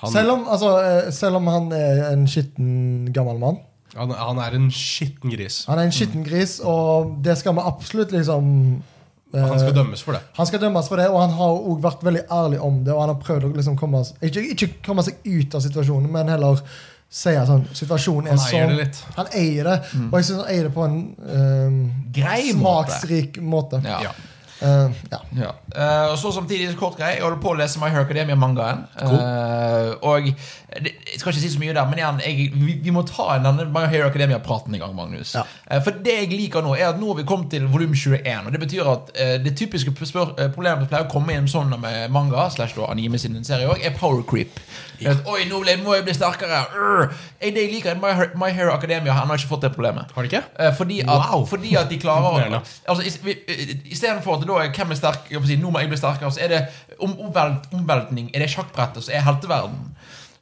Speaker 2: Han-
Speaker 3: selv, om, altså, eh, selv om han er en skitten gammel mann.
Speaker 2: Han, han er en skitten gris.
Speaker 3: Han er en skitten gris, og det skal vi absolutt liksom eh,
Speaker 2: Han skal dømmes for det.
Speaker 3: han skal dømmes for det, og han har også vært veldig ærlig om det. Og han har prøvd å liksom komme, ikke, ikke komme seg ut av situasjonen, men heller si at sånn, situasjonen er
Speaker 2: Han eier
Speaker 3: sånn.
Speaker 2: det litt. Mm.
Speaker 3: Han eier det, og jeg syns han eier det på en eh,
Speaker 1: Grei måte.
Speaker 3: smaksrik måte.
Speaker 1: Ja.
Speaker 2: Ja.
Speaker 3: Eh, ja.
Speaker 1: Ja. Eh, og så samtidig så kort grei, jeg holder på å lese My Hero Academia-mangaen. Eh, og det, jeg skal ikke si så mye der, men igjen, jeg, vi, vi må ta en denne My Hero Academia-praten i gang. Magnus
Speaker 3: Ja.
Speaker 1: Eh, For det jeg liker nå, er at nå har vi kommet til volum 21. Og det betyr at eh, det typiske spør eh, problemet som pleier å komme i en sånn med manga, slash da anime sin serie også, er power creep. At, Oi, nå ble- må jeg bli sterkere! Urgh. Jeg, det jeg liker, er at My, Hero- My Hero Academia har ennå ikke fått det problemet.
Speaker 2: Har de ikke?
Speaker 1: Eh, fordi, at,
Speaker 2: Wow.
Speaker 1: fordi at de klarer å
Speaker 2: Imponerende.
Speaker 1: altså, i- vi- i- Istedenfor at det da er hvem er sterk jeg holdt på å si, Nå må jeg bli sterkere, så er det om, omvelt, omveltning. Er det sjakkbrettet som er helteverden?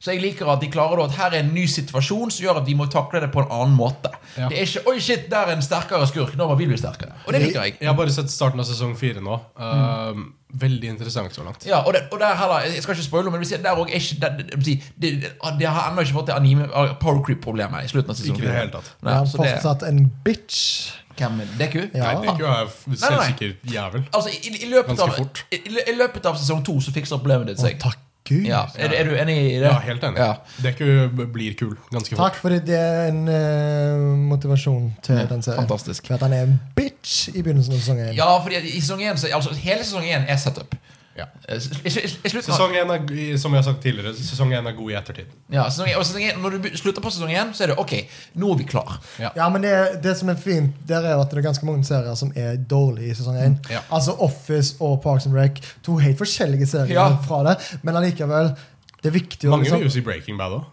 Speaker 1: Så jeg liker at de klarer da at her er en ny situasjon som gjør at vi må takle det på en annen måte.
Speaker 2: Ja.
Speaker 1: Det er ikke 'oi, shit, der er en sterkere skurk'. Nå må vi bli sterkere. Og det liker jeg.
Speaker 2: Jeg har bare sett starten av sesong fire nå. Eh, Veldig interessant så langt.
Speaker 1: Ja, og, det, og der heller, Jeg skal ikke spoile, men vi ser, der også er ikke, det, det, det, det, det har ennå ikke fått det anime power creep-problemet i slutten av sesong
Speaker 2: Ikke i det
Speaker 1: fire.
Speaker 2: hele tatt.
Speaker 1: Nei,
Speaker 3: Han
Speaker 1: så det-
Speaker 3: fortsatt en bitch.
Speaker 1: Hvem er Deku?
Speaker 3: Ja.
Speaker 2: Nei, det er ikke jo
Speaker 1: Nei, nei.
Speaker 2: selvsikker jævel.
Speaker 1: Altså, i, i, løpet
Speaker 2: Ganske
Speaker 1: av,
Speaker 2: fort.
Speaker 1: i, i løpet av sesong to så fikser problemet ditt
Speaker 3: Å,
Speaker 1: seg.
Speaker 3: takk Gud.
Speaker 1: Ja, er, er du enig i det?
Speaker 2: Ja, helt enig.
Speaker 1: Ja.
Speaker 2: Det er ikke blir kul ganske
Speaker 3: Takk,
Speaker 2: fort.
Speaker 3: fordi det er en eh, motivasjon til den serien.
Speaker 1: fantastisk.
Speaker 3: For at han er en bitch i begynnelsen av sesong 1.
Speaker 1: ja, fordi at i sesong 1, så, altså, hele sesong 1 er setup.
Speaker 2: Ja.
Speaker 1: Eh, s- i- i- i slutten av-
Speaker 2: Sesong én er, g- som jeg har sagt tidligere, sesong én er god i ettertid.
Speaker 1: Ja, sesong 1, og sesong 1, når du be- slutter på sesong 1, så er det OK, nå er vi klar.
Speaker 3: Ja, men det, det som er fint, der er jo at det er ganske mange serier som er dårlige i sesong 1.
Speaker 2: Ja.
Speaker 3: Altså Office og Parks and Rec. To helt forskjellige serier
Speaker 1: Ja.
Speaker 3: fra det, men allikevel det er viktig å
Speaker 2: Mange
Speaker 3: liksom,
Speaker 2: vil jo si Breaking Bad òg.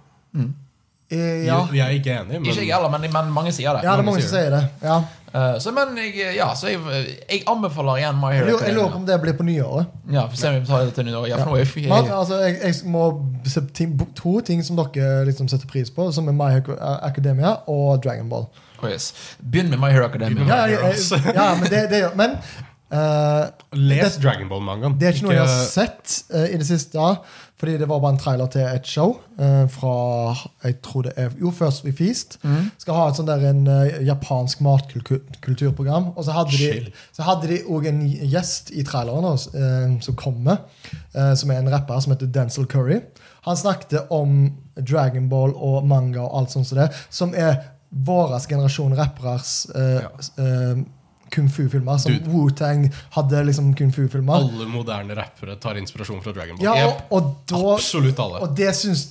Speaker 3: eh, ja.
Speaker 2: Jeg er ikke enig, men
Speaker 1: Ikke jeg heller, men, men mange sier det.
Speaker 3: ja, det er mange
Speaker 2: mange
Speaker 3: som
Speaker 2: sier
Speaker 3: sier det. Ja.
Speaker 1: Eh, så, men jeg, ja, så jeg, jeg anbefaler igjen My
Speaker 3: Jeg
Speaker 1: Hero
Speaker 3: lurer- jeg lurer på
Speaker 1: Academia.
Speaker 3: om det blir på nyåret.
Speaker 1: Ja, for se om vi tar det til nytt år. Ja, for nå er jeg
Speaker 3: Men,
Speaker 1: fy-
Speaker 3: altså, jeg, jeg må se ting, to ting som dere liksom setter pris på, som er My Hero eh, Academia og Dragon Ball.
Speaker 1: oh, yes. Begynn med My Hero Academia.
Speaker 2: Begynn
Speaker 3: Ja, ja, ja,
Speaker 2: Heroes.
Speaker 3: ja men det, det gjør Men eh,
Speaker 2: les
Speaker 3: det-
Speaker 2: Dragon Ball-mangaen.
Speaker 3: det er ikke noe jeg har sett eh, i det siste, fordi det var bare en trailer til et show eh, fra jeg tror det er, Jo, First We Feast.
Speaker 2: Mm.
Speaker 3: Skal ha et sånn der en eh, japansk matkulturprogram. Og så hadde de
Speaker 2: Chill.
Speaker 3: så hadde de òg en gjest i traileren også, eh, som kommer, eh, som er en rapper som heter Denzil Curry. Han snakket om Dragon Ball og manga og alt sånt som det, som er våres generasjon rapperes eh, eh, kung fu-filmer. Som
Speaker 2: Dude.
Speaker 3: Wu-Tang hadde liksom kung fu-filmer.
Speaker 2: Alle moderne rappere tar inspirasjon fra Dragon Ball.
Speaker 3: Ja, og, og, da,
Speaker 2: Absolutt alle.
Speaker 3: og det syns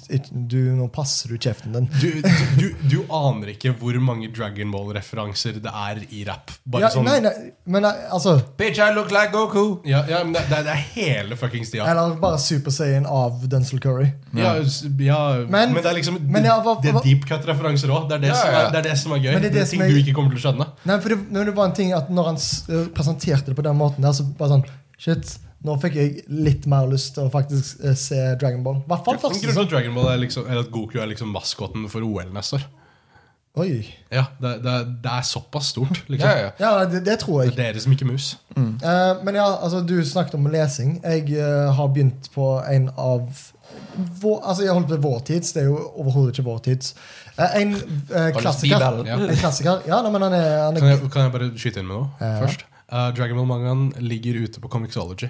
Speaker 3: Du, nå passer du kjeften din.
Speaker 2: Du, du, du- du aner ikke hvor mange Dragon Ball-referanser det er i rap. Bare
Speaker 3: Ja,
Speaker 2: sånn
Speaker 3: nei, nei, men eh, altså
Speaker 1: Bitch, I look like Goku.
Speaker 2: Ja, ja, men det, det, det er hele fuckings tida.
Speaker 3: Eller bare Super Saiyan av Denzil Curry.
Speaker 2: Ja, s- ja,
Speaker 3: Men-
Speaker 2: men, det er liksom
Speaker 3: men ja, hva-
Speaker 2: Det
Speaker 3: hva-
Speaker 2: er deep cut-referanser òg. Det, er det,
Speaker 1: Ja,
Speaker 2: som
Speaker 1: ja.
Speaker 2: er- det er det som er gøy.
Speaker 3: Men det er
Speaker 2: det
Speaker 3: det
Speaker 2: er
Speaker 3: som
Speaker 2: ting
Speaker 3: er-
Speaker 2: du ikke kommer til å skjønne.
Speaker 3: Nei, for det, når det var en ting at når han s- eh, presenterte det på den måten der, så bare sånn Shit, nå fikk jeg litt mer lyst til å faktisk eh, se Dragon Ball. I hvert fall
Speaker 2: Grunnen
Speaker 3: første
Speaker 2: til
Speaker 3: sesong.
Speaker 2: at Dragon Ball er liksom, eller at Goku er liksom maskoten for OL neste år.
Speaker 3: Oi.
Speaker 2: Ja, Det, det, det er såpass stort. Liksom.
Speaker 1: Ja, ja, ja.
Speaker 3: Ja, det, det tror
Speaker 2: Det
Speaker 3: jeg.
Speaker 2: er dere som ikke mus.
Speaker 3: Eh, men ja, altså, du snakket om lesing. Jeg eh, har begynt på en av vår, Altså, jeg holdt på vår tids. Det er jo overhodet ikke vår tids. Eh, en eh,
Speaker 1: Carlos
Speaker 3: klassiker.
Speaker 1: Bibel.
Speaker 2: Ja.
Speaker 3: En klassiker. Ja, nei, men han er, han
Speaker 2: Kan
Speaker 3: er
Speaker 2: jeg, kan jeg bare skyte inn med noe
Speaker 3: Ja.
Speaker 2: først? Eh, Dragon Ball-mangaen ligger ute på Comixology.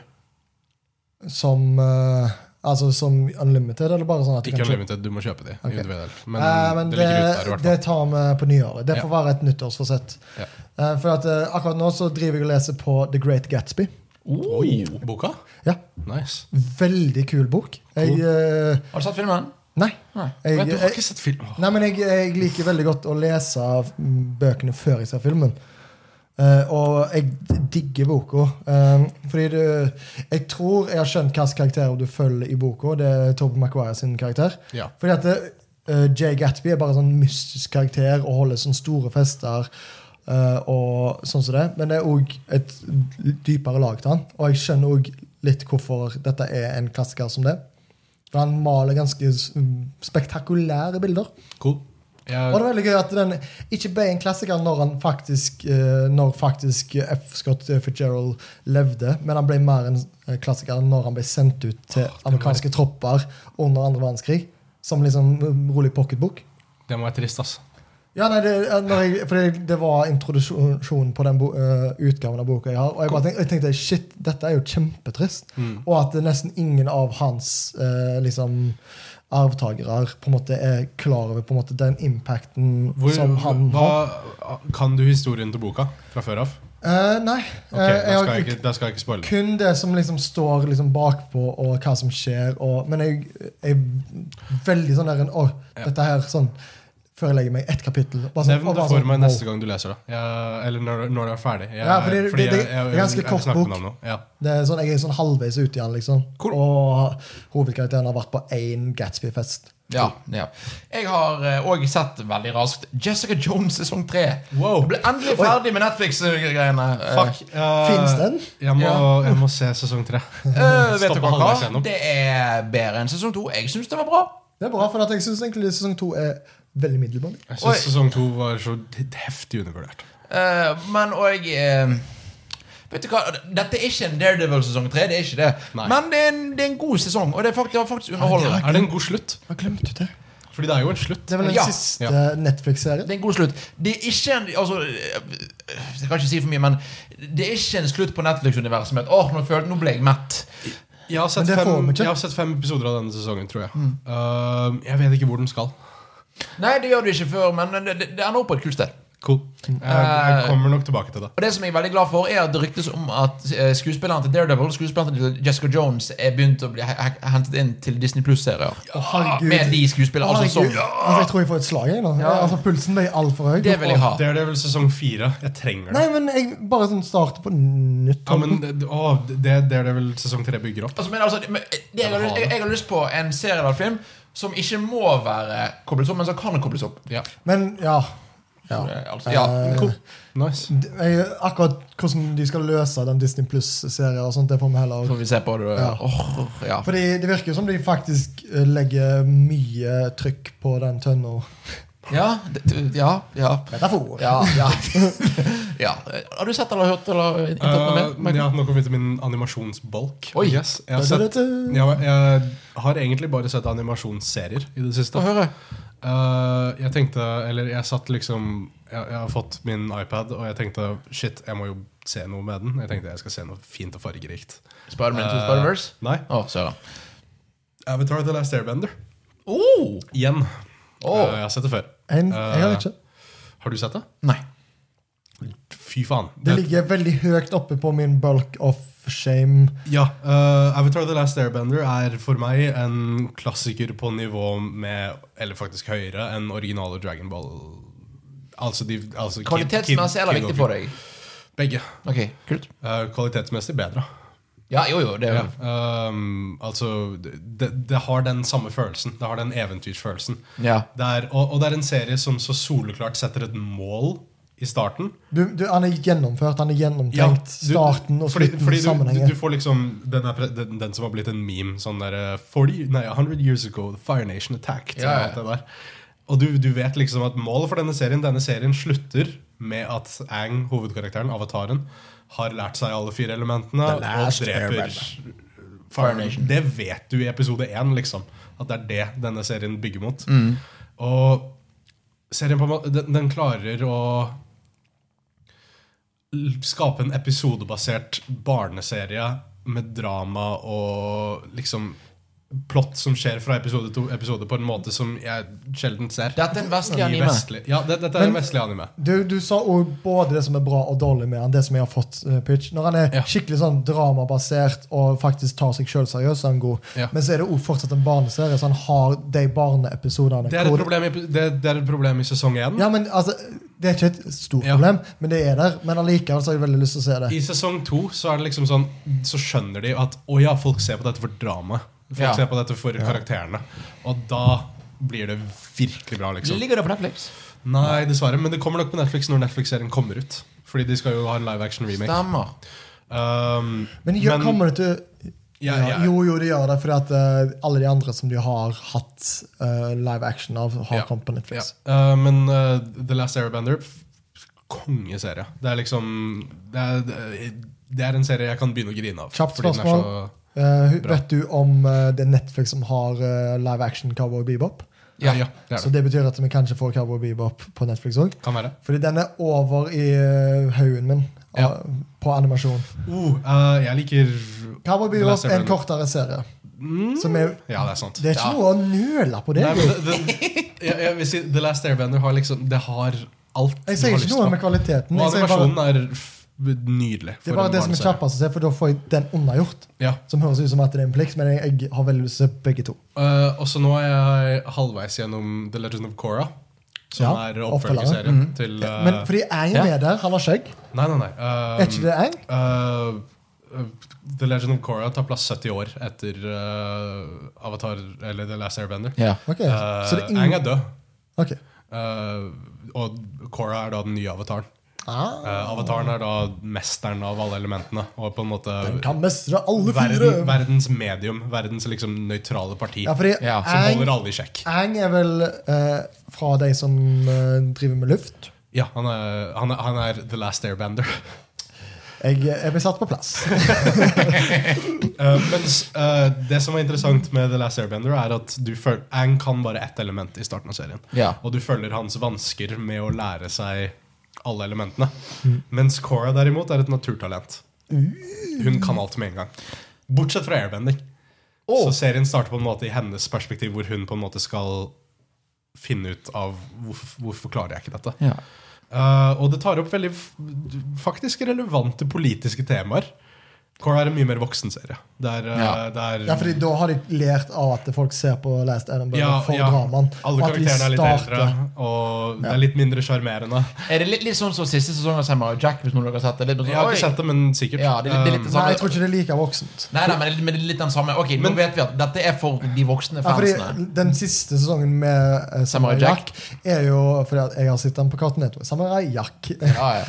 Speaker 3: som eh, Altså som Unlimited, eller bare sånn at du
Speaker 2: Ikke
Speaker 3: kan kjøpe-
Speaker 2: Unlimited, du må kjøpe de.
Speaker 3: Ok.
Speaker 2: individuelt. Men,
Speaker 3: Eh, Men
Speaker 2: det ligger ute der, i
Speaker 3: det,
Speaker 2: hvert fall.
Speaker 3: det tar vi på nyåret. Det får være et nyttårsforsett.
Speaker 2: Ja.
Speaker 3: Eh, For at eh, akkurat nå så driver jeg og leser på The Great Gatsby.
Speaker 2: Oi, boka?
Speaker 3: Ja,
Speaker 2: Nice.
Speaker 3: Veldig kul bok. Jeg eh,
Speaker 1: Har du sett filmen?
Speaker 3: Nei.
Speaker 1: Nei.
Speaker 3: Jeg,
Speaker 2: Men du har
Speaker 3: jeg,
Speaker 2: ikke sett film? Åh.
Speaker 3: nei, men jeg, jeg liker veldig godt å lese av, mm, bøkene før jeg ser filmen. Eh, og jeg digger boka. Eh, fordi du Jeg tror jeg har skjønt hvilken karakter du følger i boka. Det er Tobey Maguire sin karakter.
Speaker 2: Ja.
Speaker 3: Fordi at det, eh, Jay Gatsby er bare en sånn mystisk karakter og holder sånne store fester. eh, og sånn som det Men det er òg et dypere lag til han. Og jeg skjønner òg litt hvorfor dette er en klassiker som det. For han maler ganske s- mm, spektakulære bilder.
Speaker 2: Cool. Jeg,
Speaker 3: Og det er veldig gøy at den ikke ble en klassiker når han faktisk eh, Når faktisk F. Scott Fitzgerald levde, men han ble mer en eh, klassiker når han ble sendt ut til amerikanske tropper under andre verdenskrig. Som liksom eh, rolig pocketbok.
Speaker 2: det må være trist, ass.
Speaker 3: Ja, nei, det, eh, når jeg, for det, det var introduksjonen på den bo, eh, utgaven av boka jeg har. Og jeg, bare tenkte, jeg tenkte shit, dette er jo kjempetrist.
Speaker 2: Mm.
Speaker 3: Og at det nesten ingen av hans eh, liksom arvtakere på en måte er klar over på en måte den impacten
Speaker 2: Hvor,
Speaker 3: som han
Speaker 2: hva,
Speaker 3: har.
Speaker 2: Kan du historien til boka fra før av?
Speaker 3: Eh, nei.
Speaker 2: Ok,
Speaker 3: Eh,
Speaker 2: da
Speaker 3: jeg
Speaker 2: skal
Speaker 3: har
Speaker 2: jeg ikke, da skal jeg ikke spoile.
Speaker 3: kun det som liksom står liksom bakpå, og hva som skjer. Og, men jeg jeg er veldig sånn der en, Å, dette her sånn Før jeg legger meg ett kapittel. Bare sånn-
Speaker 2: Nevn
Speaker 3: og
Speaker 2: det
Speaker 3: bare
Speaker 2: for
Speaker 3: sånn,
Speaker 2: meg
Speaker 3: wow.
Speaker 2: neste gang du leser det. Jeg- Eller når, når du er ferdig. Jeg,
Speaker 3: Ja, fordi det- det- det- det er ganske kort
Speaker 2: snakker
Speaker 3: bok.
Speaker 2: med noen nå. Ja.
Speaker 3: Det er sånn, jeg er sånn halvveis ute igjen, liksom.
Speaker 2: Cool.
Speaker 3: Og hovedkarakteren har vært på én Gatsby-fest.
Speaker 1: Ja, ja. Jeg har òg sett veldig raskt Jessica Jones sesong tre.
Speaker 2: Wow.
Speaker 1: Jeg ble endelig ferdig med Netflix-greiene.
Speaker 2: Fuck. eh,
Speaker 3: Finnes den?
Speaker 2: Jeg må,
Speaker 1: Ja.
Speaker 2: jeg må se sesong tre.
Speaker 1: Eh, vet
Speaker 2: Stopper
Speaker 1: dere
Speaker 2: halvveis
Speaker 1: hva?
Speaker 2: gjennom.
Speaker 1: Det er bedre enn sesong to. Jeg syns det var bra.
Speaker 3: Det er bra, for at jeg syns egentlig sesong to er veldig middelmådig.
Speaker 2: Jeg
Speaker 1: Oi.
Speaker 2: syns sesong to var så heftig undervurdert.
Speaker 1: Eh, men og eh, Vet du hva, Dette er ikke en Daredevil sesong tre. Det er ikke det.
Speaker 2: Nei.
Speaker 1: Men det er, en, det er en god sesong, og det er faktisk, det var faktisk underholdende.
Speaker 2: Er det en god slutt?
Speaker 3: Jeg glemte det.
Speaker 2: Fordi det er jo en slutt.
Speaker 3: Det er vel den
Speaker 1: Ja.
Speaker 3: siste
Speaker 2: Ja.
Speaker 3: Netflix-serien.
Speaker 1: Det er en god slutt. Det er ikke en altså, eh, Jeg kan ikke si for mye, men det er ikke en slutt på Netflix-universet med at åh, nå, følte- nå ble jeg mett.
Speaker 2: Jeg har, sett
Speaker 3: Men det får
Speaker 2: fem,
Speaker 3: vi ikke. Mm.
Speaker 2: jeg har sett fem episoder av denne sesongen, tror jeg. Ehm, jeg vet ikke hvor den skal.
Speaker 1: Nei, det gjør du ikke før, men det, det, det ender opp på et kult sted.
Speaker 2: Cool. Jeg, jeg kommer nok tilbake til det.
Speaker 1: Og det som jeg er veldig glad for, er at det ryktes om at eh, skuespilleren til Daredevil skuespilleren til Jessica Jones er begynt å bli he- he- hentet inn til Disney Pluss-serier.
Speaker 3: Å,
Speaker 2: Ah,
Speaker 3: herregud.
Speaker 1: Med de skuespillerne. Altså,
Speaker 3: Herregud.
Speaker 1: som-
Speaker 3: altså, jeg tror jeg får et slag, jeg nå.
Speaker 1: Ja.
Speaker 3: Altså, pulsen ble altfor høy.
Speaker 1: det vil jeg ha.
Speaker 2: Det er det vel sesong fire. Jeg trenger det.
Speaker 3: Nei, men jeg bare sånn starter på nytt.
Speaker 2: Ja, men det, å, det, det er det vel sesong tre bygger opp.
Speaker 1: Altså, men altså, men, eh, det jeg, har
Speaker 2: Jeg vil ha
Speaker 1: lyst, jeg,
Speaker 2: det.
Speaker 1: jeg har lyst på en serie eller film som ikke må være koblet opp, men som kan kobles opp.
Speaker 2: Ja.
Speaker 3: Men ja. ja.
Speaker 1: Eh, Altså, ja.
Speaker 3: Eh,
Speaker 2: Cool. Nice.
Speaker 3: d- jeg, akkurat hvordan de skal løse den Disney Pluss-serien, og sånt, det får vi heller
Speaker 1: Så får vi se på det.
Speaker 3: Ja.
Speaker 1: Åh, ja.
Speaker 3: Fordi det virker jo som de faktisk eh, legger mye trykk på den tønna.
Speaker 1: Ja, det- ja, ja,
Speaker 3: Metafor.
Speaker 1: ja, ja. ja. Har du sett eller hørt eller eh, ikke hørt noe mer?
Speaker 2: Eh,
Speaker 1: Michael?
Speaker 2: ja, nå kommer vi til min animasjonsbolk.
Speaker 1: Oi.
Speaker 2: Yes. Jeg, har sett,
Speaker 3: Du-du-du-du.
Speaker 2: jeg, jeg har egentlig bare sett animasjonsserier i det siste.
Speaker 1: Få høre.
Speaker 2: Eh, jeg tenkte, eller jeg satt liksom jeg, jeg har fått min iPad, og jeg tenkte shit, jeg må jo se noe med den. Jeg tenkte jeg skal se noe fint og fargerikt.
Speaker 1: Spiderman
Speaker 2: Eh,
Speaker 1: to Spiderverse?
Speaker 2: Nei.
Speaker 1: Å, søren.
Speaker 2: Avatar The Last Airbender.
Speaker 1: Oh!
Speaker 2: Igjen.
Speaker 1: Åh.
Speaker 2: Eh, jeg har sett det før. Eh,
Speaker 3: En, jeg har ikke.
Speaker 2: Har du sett det?
Speaker 1: Nei.
Speaker 2: Fy faen.
Speaker 3: Det ligger veldig høyt oppe på min bulk of shame.
Speaker 2: Ja, eh, Avatar The Last Airbender er for meg en klassiker på nivå med, eller faktisk høyere, enn originale Dragon Ball. Altså de altså Kid-
Speaker 1: Kvalitetsmessig eller
Speaker 2: Kid- Kid
Speaker 1: viktig
Speaker 2: og
Speaker 1: for
Speaker 2: Kid.
Speaker 1: deg?
Speaker 2: Begge.
Speaker 1: Ok, kult.
Speaker 2: Eh, kvalitetsmessig bedre.
Speaker 1: Ja, jo, jo, det er jo
Speaker 2: Ja. ehm, altså, det, det har den samme følelsen. Det har den eventyrsfølelsen.
Speaker 1: Ja.
Speaker 2: Det er, og, og det er en serie som så soleklart setter et mål i starten.
Speaker 3: Du, du, han er gjennomført, han er gjennomtenkt.
Speaker 2: du-
Speaker 3: starten og
Speaker 2: fordi-
Speaker 3: slutten
Speaker 2: fordi du-
Speaker 3: sammenhenger.
Speaker 2: Du, du får liksom den, er pre- den, den som har blitt en meme sånn der eh, 40, nei, 100 years ago, the Fire Nation attacked.
Speaker 1: Ja, ja.
Speaker 2: Og, alt det der. og du, du vet liksom at målet for denne serien Denne serien slutter med at Ang, hovedkarakteren, avataren, har lært seg alle fire elementene og
Speaker 3: Last
Speaker 2: dreper
Speaker 3: Airbender.
Speaker 2: Fire
Speaker 1: Nation.
Speaker 2: Nation. Det vet du i episode én, liksom. At det er det denne serien bygger mot. Og serien på en måte, den, den klarer å l- skape en episodebasert barneserie med drama og liksom plott som skjer fra episode til episode på en måte som jeg sjelden ser.
Speaker 1: Dette er en vestlig
Speaker 2: I
Speaker 1: anime.
Speaker 2: vestlig- Ja, det, dette er en vestlig anime.
Speaker 3: Du, du sa òg både det som er bra og dårlig med han, det som jeg har fått eh, pitch. Når han er
Speaker 2: Ja.
Speaker 3: skikkelig sånn dramabasert og faktisk tar seg sjøl seriøst, så er han god.
Speaker 2: Ja.
Speaker 3: Men så er det òg fortsatt en barneserie, så han har de barneepisodene.
Speaker 2: Det er, et
Speaker 3: hvor-
Speaker 2: problem i, det, det er et problem i sesong én.
Speaker 3: Ja, men altså, Det er ikke et stort
Speaker 2: Ja.
Speaker 3: problem, men det er der. Men allikevel så har jeg veldig lyst til å se det.
Speaker 2: I sesong to så er det liksom sånn Så skjønner de at å ja, folk ser på dette for drama. Folk
Speaker 1: Ja.
Speaker 2: ser på dette for karakterene. Og da blir det virkelig bra, liksom.
Speaker 1: Ligger det på Netflix?
Speaker 2: Nei, dessverre. Men det kommer nok på Netflix når Netflix-serien kommer ut. Fordi de skal jo ha en live action remake.
Speaker 1: Stemmer.
Speaker 2: Um,
Speaker 3: Men gjør, kommer det til
Speaker 2: Ja,
Speaker 3: ja,
Speaker 2: ja.
Speaker 3: Jo, jo, det gjør det, fordi at eh, alle de andre som de har hatt eh, live action av, har
Speaker 2: Ja.
Speaker 3: kommet på Netflix.
Speaker 2: Ja. Eh, men eh, The Last Airbender f- Kongeserie. Det er liksom det er, det er en serie jeg kan begynne å grine av.
Speaker 3: Kjapt
Speaker 2: fordi den er
Speaker 3: spørsmål. Eh, hu- vet du om eh, det er Netflix som har eh, live action Cowboy Bebop?
Speaker 2: Så, ja, ja, det
Speaker 3: Så
Speaker 2: er det.
Speaker 3: det betyr at vi kanskje får Cowboy Bebop på Netflix òg?
Speaker 2: Kan være.
Speaker 3: Fordi den er over i eh, haugen min
Speaker 2: Ja.
Speaker 3: eh, på animasjon.
Speaker 2: Oh, eh, jeg liker
Speaker 3: Cowboy
Speaker 2: The Last
Speaker 3: Bebop er en
Speaker 2: Airbender.
Speaker 3: kortere serie. Som er,
Speaker 2: Mm. Ja, det er sant.
Speaker 3: det er ikke noe å nøle på det.
Speaker 2: Nei, men det, det, jeg, jeg vil si The Last Airbender har liksom Det har alt
Speaker 3: jeg sier ikke noe med kvaliteten.
Speaker 2: Og
Speaker 3: Jeg sier bare,
Speaker 2: animasjonen er f- nydelig.
Speaker 3: Det
Speaker 2: for
Speaker 3: er bare
Speaker 2: en
Speaker 3: det som er
Speaker 2: barneserie.
Speaker 3: kjappest å se, for da får jeg den unnagjort.
Speaker 2: Ja.
Speaker 3: Som høres ut som at det er en plikt, men jeg, jeg har veldig lyst til å se begge to.
Speaker 2: Eh, også nå er jeg halvveis gjennom The Legend of Korra. Som
Speaker 3: Ja,
Speaker 2: er
Speaker 3: oppfølgeren.
Speaker 2: oppfølgerserien til eh,
Speaker 3: Men fordi Ang
Speaker 1: ja.
Speaker 3: er med der, han har skjegg.
Speaker 2: Nei, nei, nei. eh,
Speaker 3: Er ikke det Ang?
Speaker 2: eh, The Legend of Korra tar plass 70 år etter eh, Avatar eller The Last Airbender.
Speaker 1: Ja.
Speaker 3: Ok,
Speaker 2: Eh,
Speaker 3: så det er
Speaker 2: Aang
Speaker 3: ingen...
Speaker 2: er død,
Speaker 3: Ok.
Speaker 2: eh, og Korra er da den nye avataren.
Speaker 3: Ah,
Speaker 2: Eh, avataren er da mesteren av alle elementene. Og på en måte
Speaker 3: den kan mestre alle fire!
Speaker 2: verden, verdens medium, verdens liksom nøytrale parti,
Speaker 3: Ja, fordi
Speaker 1: Ja,
Speaker 2: som
Speaker 3: Aang,
Speaker 2: holder alle i sjekk.
Speaker 3: Aang er vel eh, fra de som eh, driver med luft.
Speaker 2: Ja, han er, han, er, han er the last airbender.
Speaker 3: Jeg, jeg ble satt på plass.
Speaker 2: Eh, mens eh, det som var interessant med The Last Airbender, er at du føl- Aang kan bare ett element i starten av serien.
Speaker 1: Ja.
Speaker 2: Og du følger hans vansker med å lære seg alle elementene. Mens Cora derimot er et naturtalent. Hun kan alt med en gang. Bortsett fra airbending. Så serien starter på en måte i hennes perspektiv, hvor hun på en måte skal finne ut av hvorfor, hvorfor klarer jeg ikke dette.
Speaker 1: Ja.
Speaker 2: Eh, og det tar opp veldig f- faktisk relevante politiske temaer. Cora er en mye mer voksen serie. Det er, eh,
Speaker 1: Ja.
Speaker 2: det er
Speaker 3: Ja, fordi da har de lært av at folk ser på Last Edinburgh
Speaker 2: Ja,
Speaker 3: for
Speaker 2: ja.
Speaker 3: dramaen.
Speaker 2: Alle
Speaker 3: og at vi
Speaker 2: karakterene er litt
Speaker 3: starter-
Speaker 2: eldre, og det er litt mindre sjarmerende.
Speaker 1: Er det litt, litt sånn som siste sesong av Samurai Jack? Hvis noen av dere har sett det? Litt sånn,
Speaker 2: Jeg har
Speaker 1: oi.
Speaker 2: ikke sett det, men sikkert.
Speaker 1: Ja, det, er litt- det er litt det
Speaker 3: Nei,
Speaker 1: samme.
Speaker 3: jeg tror ikke det er like voksent.
Speaker 1: Nei, nei, men det er- men det er litt den samme. Ok, Nå vet vi at dette er for de voksne
Speaker 3: Ja, fordi
Speaker 1: fansene.
Speaker 3: Den siste sesongen med eh,
Speaker 1: Samurai
Speaker 3: Samurai Jack er jo fordi at jeg har sett den på Cartoon Network. Samurai Jack eh,
Speaker 1: Ja, ja.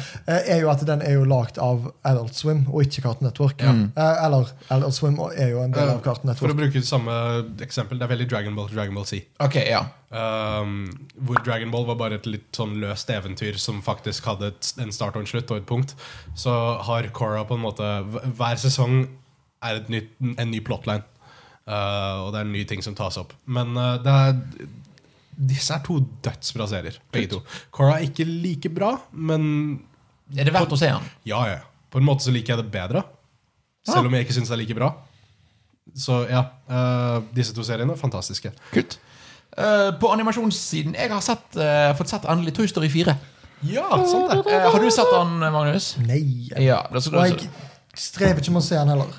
Speaker 3: er jo at den er jo lagd av Adult Swim og ikke Cartoon Network. Eh, Eller Adult Swim og er jo en del av Cartoon
Speaker 2: Eh, For å
Speaker 3: Network.
Speaker 2: bruke samme eksempel, det er veldig Dragon Ball til Dragon Ball Z.
Speaker 1: Ok, ja.
Speaker 2: Um, hvor Dragon Ball var bare et litt sånn løst eventyr som faktisk hadde et, en start og en slutt og et punkt. Så har Cora på en måte hv- Hver sesong er et nytt, en ny plotline. Uh, og det er nye ting som tas opp. Men uh, det er disse er to dødsbra serier. Begge to. Cora er ikke like bra, men
Speaker 1: Er det verdt å se den?
Speaker 2: ja, ja. På en måte så liker jeg det bedre. Selv om jeg ikke syns det er like bra. Så ja, uh, disse to seriene er fantastiske.
Speaker 1: Kutt. Eh, på animasjonssiden Jeg har sett, eh, fått sett endelig Toy Story 4.
Speaker 2: Ja, sant det.
Speaker 1: Eh, har du sett den, Magnus?
Speaker 3: Nei.
Speaker 1: Ja. Det, så,
Speaker 3: Og jeg strever ikke med å se den heller.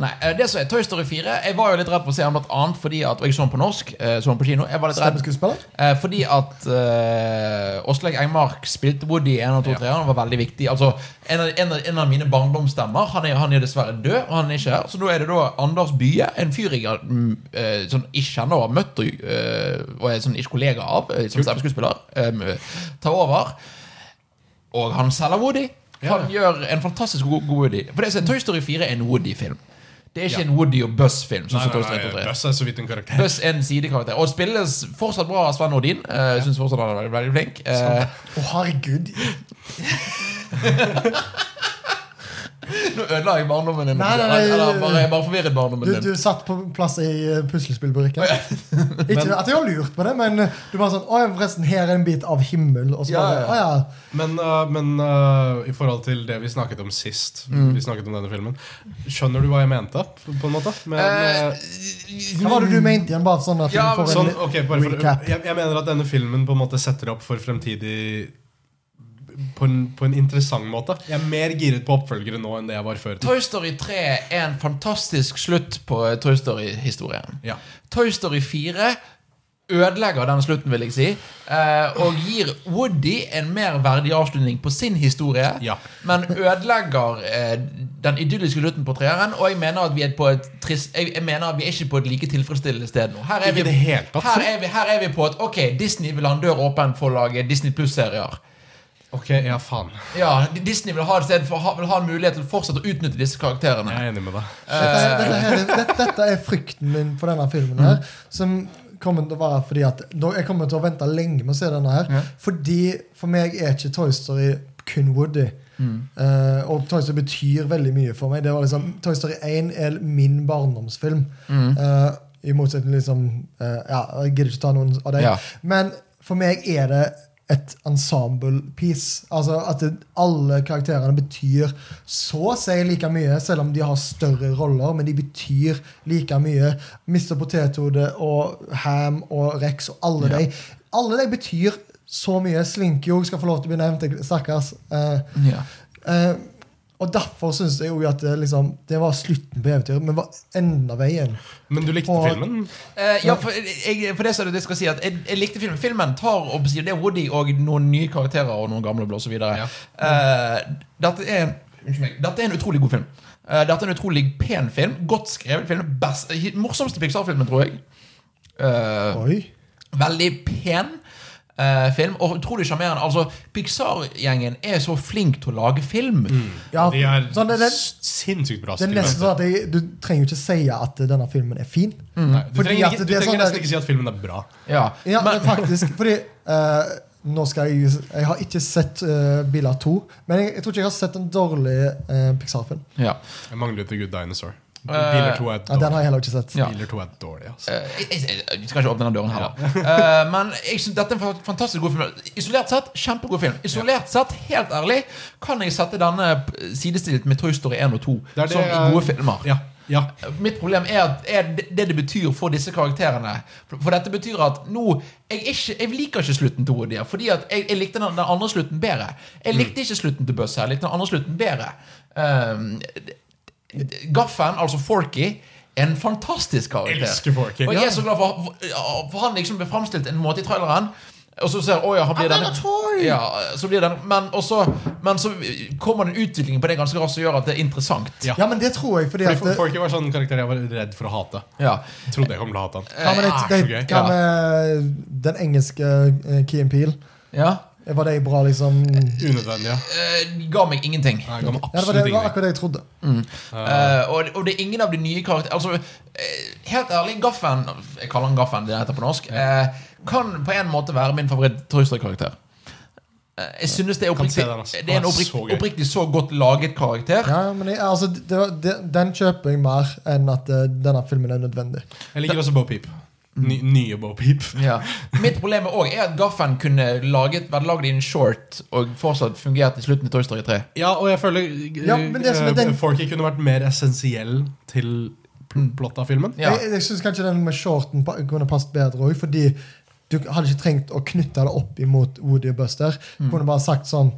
Speaker 1: nei, eh, det som er Toy Story 4 Jeg var jo litt redd for å se den blant annet fordi at Og jeg så den på norsk. eh, så den på kino. Jeg var litt redd
Speaker 3: Stemmeskuespiller?
Speaker 1: Eh, fordi at eh, Åslaug Engmark spilte Woody i 1 av 2 3 Han var veldig viktig. Altså, en, av, en, av, en av mine barndomsstemmer. Han er, han er dessverre død, og han er ikke her. Så nå er det da Anders Bye, en fyr jeg har, mm, eh, sånn, ikke kjenner og har møtt og, eh, og er sånn, ikke kollega av, eh, som stemmeskuespiller, eh, tar over. Og han selger Woody. Han gjør en fantastisk god, god Woody. For det, som er sånn, Toy Story 4 er en Woody-film. Det er ikke
Speaker 2: Ja.
Speaker 1: en Woody og Buzz-film. sånn
Speaker 2: Nei,
Speaker 1: som Toy
Speaker 2: nei,
Speaker 1: Story 1 og 3
Speaker 2: nei, Buzz er så vidt en karakter.
Speaker 1: Pluss en sidekarakter. Og spilles fortsatt bra av Sven Nordin. Uh, Syns fortsatt han er veldig, veldig flink. Eh,
Speaker 3: Å, herregud.
Speaker 1: nå ødela jeg barndommen din.
Speaker 3: Nei, nei, nei.
Speaker 1: Eller, eller bare, jeg bare forvirret
Speaker 3: Du,
Speaker 1: barndommen
Speaker 3: du
Speaker 1: din.
Speaker 3: satt på plass i eh, puslespillburikken. Ikke at jeg har lurt på det, men du bare sånn Å ja, forresten, her er en bit av himmel. Og så
Speaker 1: Ja,
Speaker 3: bare,
Speaker 1: ja.
Speaker 3: å ja.
Speaker 2: Men, øh, men øh, i forhold til det vi snakket om sist,
Speaker 3: Mm.
Speaker 2: Vi snakket om denne filmen skjønner du hva jeg mente? På på en måte? Men,
Speaker 1: Eh,
Speaker 2: øh,
Speaker 3: Hva var det du mente igjen? Bare sånn at
Speaker 1: Ja,
Speaker 3: du får en
Speaker 2: sånn,
Speaker 3: litt-
Speaker 2: ok, bare for,
Speaker 3: recap.
Speaker 2: jeg, jeg mener at denne filmen på en måte setter opp for fremtidig på en, på en interessant måte. Jeg er mer giret på oppfølgere nå enn det jeg var før.
Speaker 1: Toy Story 3 er en fantastisk slutt på eh, Toy Story-historien.
Speaker 2: Ja.
Speaker 1: Toy Story 4 ødelegger den slutten, vil jeg si. eh, og gir Woody en mer verdig avslutning på sin historie.
Speaker 2: Ja.
Speaker 1: Men ødelegger eh, den idylliske slutten på treeren. Og jeg mener at vi er på et trist, jeg, jeg mener at vi er ikke på et like tilfredsstillende sted nå. Her
Speaker 2: Ikke
Speaker 1: er, vi,
Speaker 2: i det hele tatt.
Speaker 1: her er, vi, her er vi på et Ok, Disney vil ha en dør åpen for å lage Disney Pluss-serier.
Speaker 2: Ok, ja, faen.
Speaker 1: Ja, Disney vil ha, et sted for, ha- vil ha en mulighet til å fortsette å utnytte disse karakterene.
Speaker 2: Jeg er enig med deg.
Speaker 3: Dette, dette, her, dette, dette er frykten min for denne filmen her. Som kommer til å være fordi at da- Jeg kommer til å vente lenge med å se denne her. Fordi for meg er ikke Toy Story kun Woody. Eh, og Toy Story betyr veldig mye for meg. Det var liksom, Toy Story 1 er min barndomsfilm. Eh, I motsetning til liksom eh, Ja, jeg gidder ikke ta noen av dem.
Speaker 1: Ja.
Speaker 3: Men for meg er det et ensemble piece. Altså At det, alle karakterene betyr så å si like mye, selv om de har større roller. Men de betyr like mye. Mr. Potethode og Ham og Rex og alle de. Alle de betyr så mye. Slinky òg skal få lov til å bli nevnt. jeg- Stakkars. Eh,
Speaker 1: Ja.
Speaker 3: eh, Og derfor syns jeg jo at det, liksom, det var slutten på eventyret, men var enden av veien.
Speaker 2: Men du likte
Speaker 3: Og-
Speaker 2: filmen?
Speaker 1: Eh, ja, for, jeg, for det så er det det jeg skal si at jeg, jeg likte filmen. Filmen tar opp Det er Woody og noen nye karakterer og noen gamle blå osv.
Speaker 2: Ja.
Speaker 1: dette, er en- unnskyld meg, dette er en utrolig god film. Eh, dette er en utrolig pen film. Godt skrevet film. Best, morsomste Pixar-filmen, tror jeg. Eh,
Speaker 3: Oi.
Speaker 1: Veldig pen eh, film, og utrolig sjarmerende. Altså, Pixar-gjengen er så flink til å lage film.
Speaker 3: Ja,
Speaker 2: De er
Speaker 3: sånn, det, det,
Speaker 2: s- sinnssykt bra
Speaker 3: det er nesten sånn at jeg, Du trenger jo ikke si at denne filmen er fin.
Speaker 2: Nei, du
Speaker 3: Fordi
Speaker 2: trenger,
Speaker 3: at
Speaker 2: ikke,
Speaker 3: det
Speaker 2: du
Speaker 3: er
Speaker 2: trenger
Speaker 3: sånn
Speaker 2: nesten
Speaker 3: der-
Speaker 2: ikke si at filmen er bra.
Speaker 1: Ja,
Speaker 3: Ja,
Speaker 1: men,
Speaker 3: men faktisk Fordi eh, nå skal jeg Jeg har ikke sett uh, Biler 2, men jeg, jeg tror ikke jeg har sett en dårlig eh, Pixar-film.
Speaker 1: ja.
Speaker 2: Jeg mangler The Good Dinosaur. Biler 2 er
Speaker 3: Ja, den
Speaker 2: dårlig.
Speaker 3: har jeg heller ikke sett.
Speaker 1: Ja.
Speaker 2: Biler 2 er dårlig altså.
Speaker 1: Eh, jeg, jeg, jeg- vi skal ikke åpne den døren her, da. Eh, men jeg synes dette er en fa- fantastisk god film. Isolert sett, kjempegod film. Isolert sett, helt ærlig, kan jeg sette denne p- sidestilt med Toy Story 1 og 2
Speaker 2: Det er det
Speaker 1: som
Speaker 2: jeg-
Speaker 1: gode filmer.
Speaker 2: Ja, ja.
Speaker 1: Mitt problem er, at, er det- det det betyr for disse karakterene. For, for dette betyr at nå Jeg, er ikke, jeg liker ikke slutten til Woody. Fordi at jeg, jeg likte den, den andre slutten bedre. Jeg likte ikke slutten til Buzz her. Jeg likte den andre slutten bedre. Um, Gaffen, altså Forky, er en fantastisk karakter.
Speaker 2: Elsker Forky.
Speaker 1: Og jeg er så glad for, for han liksom ble framstilt en måte i traileren. Og så ser å ja, han blir
Speaker 3: I'm
Speaker 1: denne-
Speaker 3: not a toy!
Speaker 1: ja, så blir den men, også, men så kommer det en utvikling på det ganske raskt som gjør at det er interessant.
Speaker 2: Ja.
Speaker 3: Ja, men det tror jeg, fordi,
Speaker 2: Fordi
Speaker 3: at eh, det,
Speaker 2: Folk var sånn karakter jeg var redd for å hate.
Speaker 1: Ja.
Speaker 2: Jeg trodde jeg kom til å hate han.
Speaker 3: ja, men det,
Speaker 1: Ah,
Speaker 3: det,
Speaker 2: så gøy.
Speaker 3: Hva med den engelske eh, Key and Peel?
Speaker 1: ja.
Speaker 3: Var det bra, liksom? Ja,
Speaker 2: Unødvendig. ja.
Speaker 1: Eh, ga meg ingenting.
Speaker 2: Jeg ga meg
Speaker 3: det var, det,
Speaker 2: absolutt
Speaker 3: det var
Speaker 2: ingenting.
Speaker 3: akkurat det jeg trodde.
Speaker 1: Eh, og, og det er ingen av de nye karakterene Altså, eh, helt ærlig, Gaffen Jeg kaller han Gaffen, det heter på norsk. eh, kan på en måte være min favoritt-Toyster-karakter. jeg synes det er
Speaker 2: Kan
Speaker 1: oppriktig
Speaker 2: se den, altså.
Speaker 1: Det er en
Speaker 2: Han er
Speaker 1: oppriktig,
Speaker 2: så gøy.
Speaker 1: oppriktig så godt laget karakter.
Speaker 3: Ja, men jeg, altså, det, var- det, Den kjøper jeg mer enn at eh, denne filmen er nødvendig.
Speaker 2: Jeg liker også Bo Peep.
Speaker 3: Mm.
Speaker 2: Ny, nye Bo Peep.
Speaker 1: Ja. Mitt problem er også er at Gaffen kunne laget, vært laget i en short og fortsatt fungert i slutten av Toy Story 3.
Speaker 2: Ja, og jeg føler
Speaker 3: Ja, men det som
Speaker 2: eh,
Speaker 3: er den- Mm.
Speaker 2: folk ikke kunne vært mer essensiell til pl- plottet av filmen.
Speaker 1: Ja.
Speaker 3: Jeg, jeg syns kanskje den med shorten pa- kunne passet bedre òg, fordi du hadde ikke trengt å knytte det opp imot Woody og Buster. Du kunne bare sagt sånn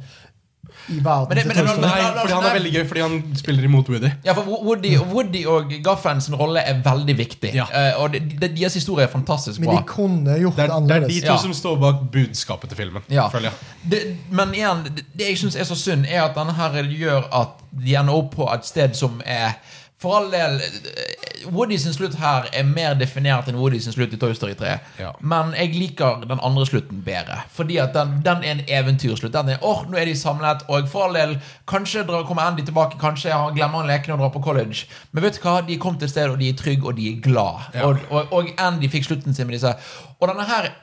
Speaker 3: i verden
Speaker 1: Men det- men
Speaker 3: til
Speaker 1: det-
Speaker 3: Toy
Speaker 1: men-
Speaker 3: Story.
Speaker 2: Nei, fordi han er veldig gøy, fordi han spiller imot Woody.
Speaker 1: Ja, for Woody, Woody og Gaffen sin rolle er veldig viktig.
Speaker 2: Ja.
Speaker 1: Eh, og de, de, deres historie er fantastisk
Speaker 3: Men
Speaker 1: bra.
Speaker 3: de kunne gjort
Speaker 2: Det
Speaker 3: det
Speaker 2: er, det er de
Speaker 3: annerledes.
Speaker 2: to
Speaker 1: Ja.
Speaker 2: som står bak budskapet til filmen.
Speaker 1: Ja.
Speaker 2: Føler jeg.
Speaker 1: Det, men igjen, det, det jeg syns er så synd, er at denne her gjør at de ender opp på et sted som er For all del eh, Woody sin slutt her er mer definert enn Woody sin slutt i Toy Story 3.
Speaker 2: Ja.
Speaker 1: Men jeg liker den andre slutten bedre. Fordi at den, den er en eventyrslutt. Den er, åh, nå er de samlet, og for all del, kanskje dra, kommer Andy tilbake, kanskje han glemmer han leken og drar på college. Men vet du hva, de kom til et sted, og de er trygge, og de er glad.
Speaker 2: Ja.
Speaker 1: Og, og, og Andy fikk slutten sin med disse. Og denne her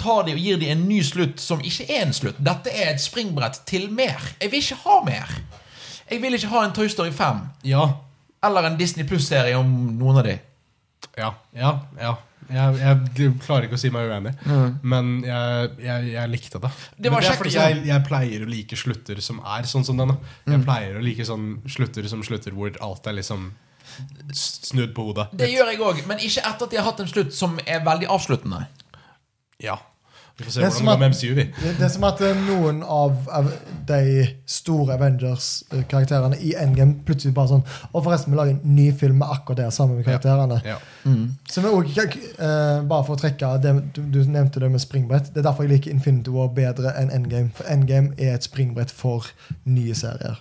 Speaker 1: tar de og gir de en ny slutt som ikke er en slutt. Dette er et springbrett til mer. Jeg vil ikke ha mer. Jeg vil ikke ha en Toy Story 5
Speaker 2: Ja,
Speaker 1: eller en Disney Plus-serie om noen av de.
Speaker 2: ja, ja, ja. Jeg, jeg klarer ikke å si meg uenig,
Speaker 3: Mm.
Speaker 2: men jeg, jeg, jeg likte det.
Speaker 1: Det
Speaker 2: Men
Speaker 1: var
Speaker 2: det er
Speaker 1: kjekt
Speaker 2: fordi
Speaker 1: å se.
Speaker 2: jeg, jeg pleier å like slutter som er sånn som denne.
Speaker 3: Mm.
Speaker 2: Jeg pleier å like sånn slutter som slutter hvor alt er liksom snudd på hodet.
Speaker 1: Det gjør jeg òg, men ikke etter at de har hatt en slutt som er veldig avsluttende.
Speaker 2: Ja. Vi får se
Speaker 3: Det er
Speaker 2: hvordan
Speaker 3: som
Speaker 2: det går med
Speaker 3: at-
Speaker 2: MCU, vi.
Speaker 3: Det, det er som at eh, noen av av de store Avengers-karakterene i Endgame plutselig bare sånn Og forresten, vi lager en ny film med akkurat det sammen med karakterene.
Speaker 2: Ja.
Speaker 3: Som er også, eh, bare for å trekke det, du, du nevnte det med springbrett. Det er derfor jeg liker Infinity War bedre enn Endgame. For Endgame er et springbrett for nye serier.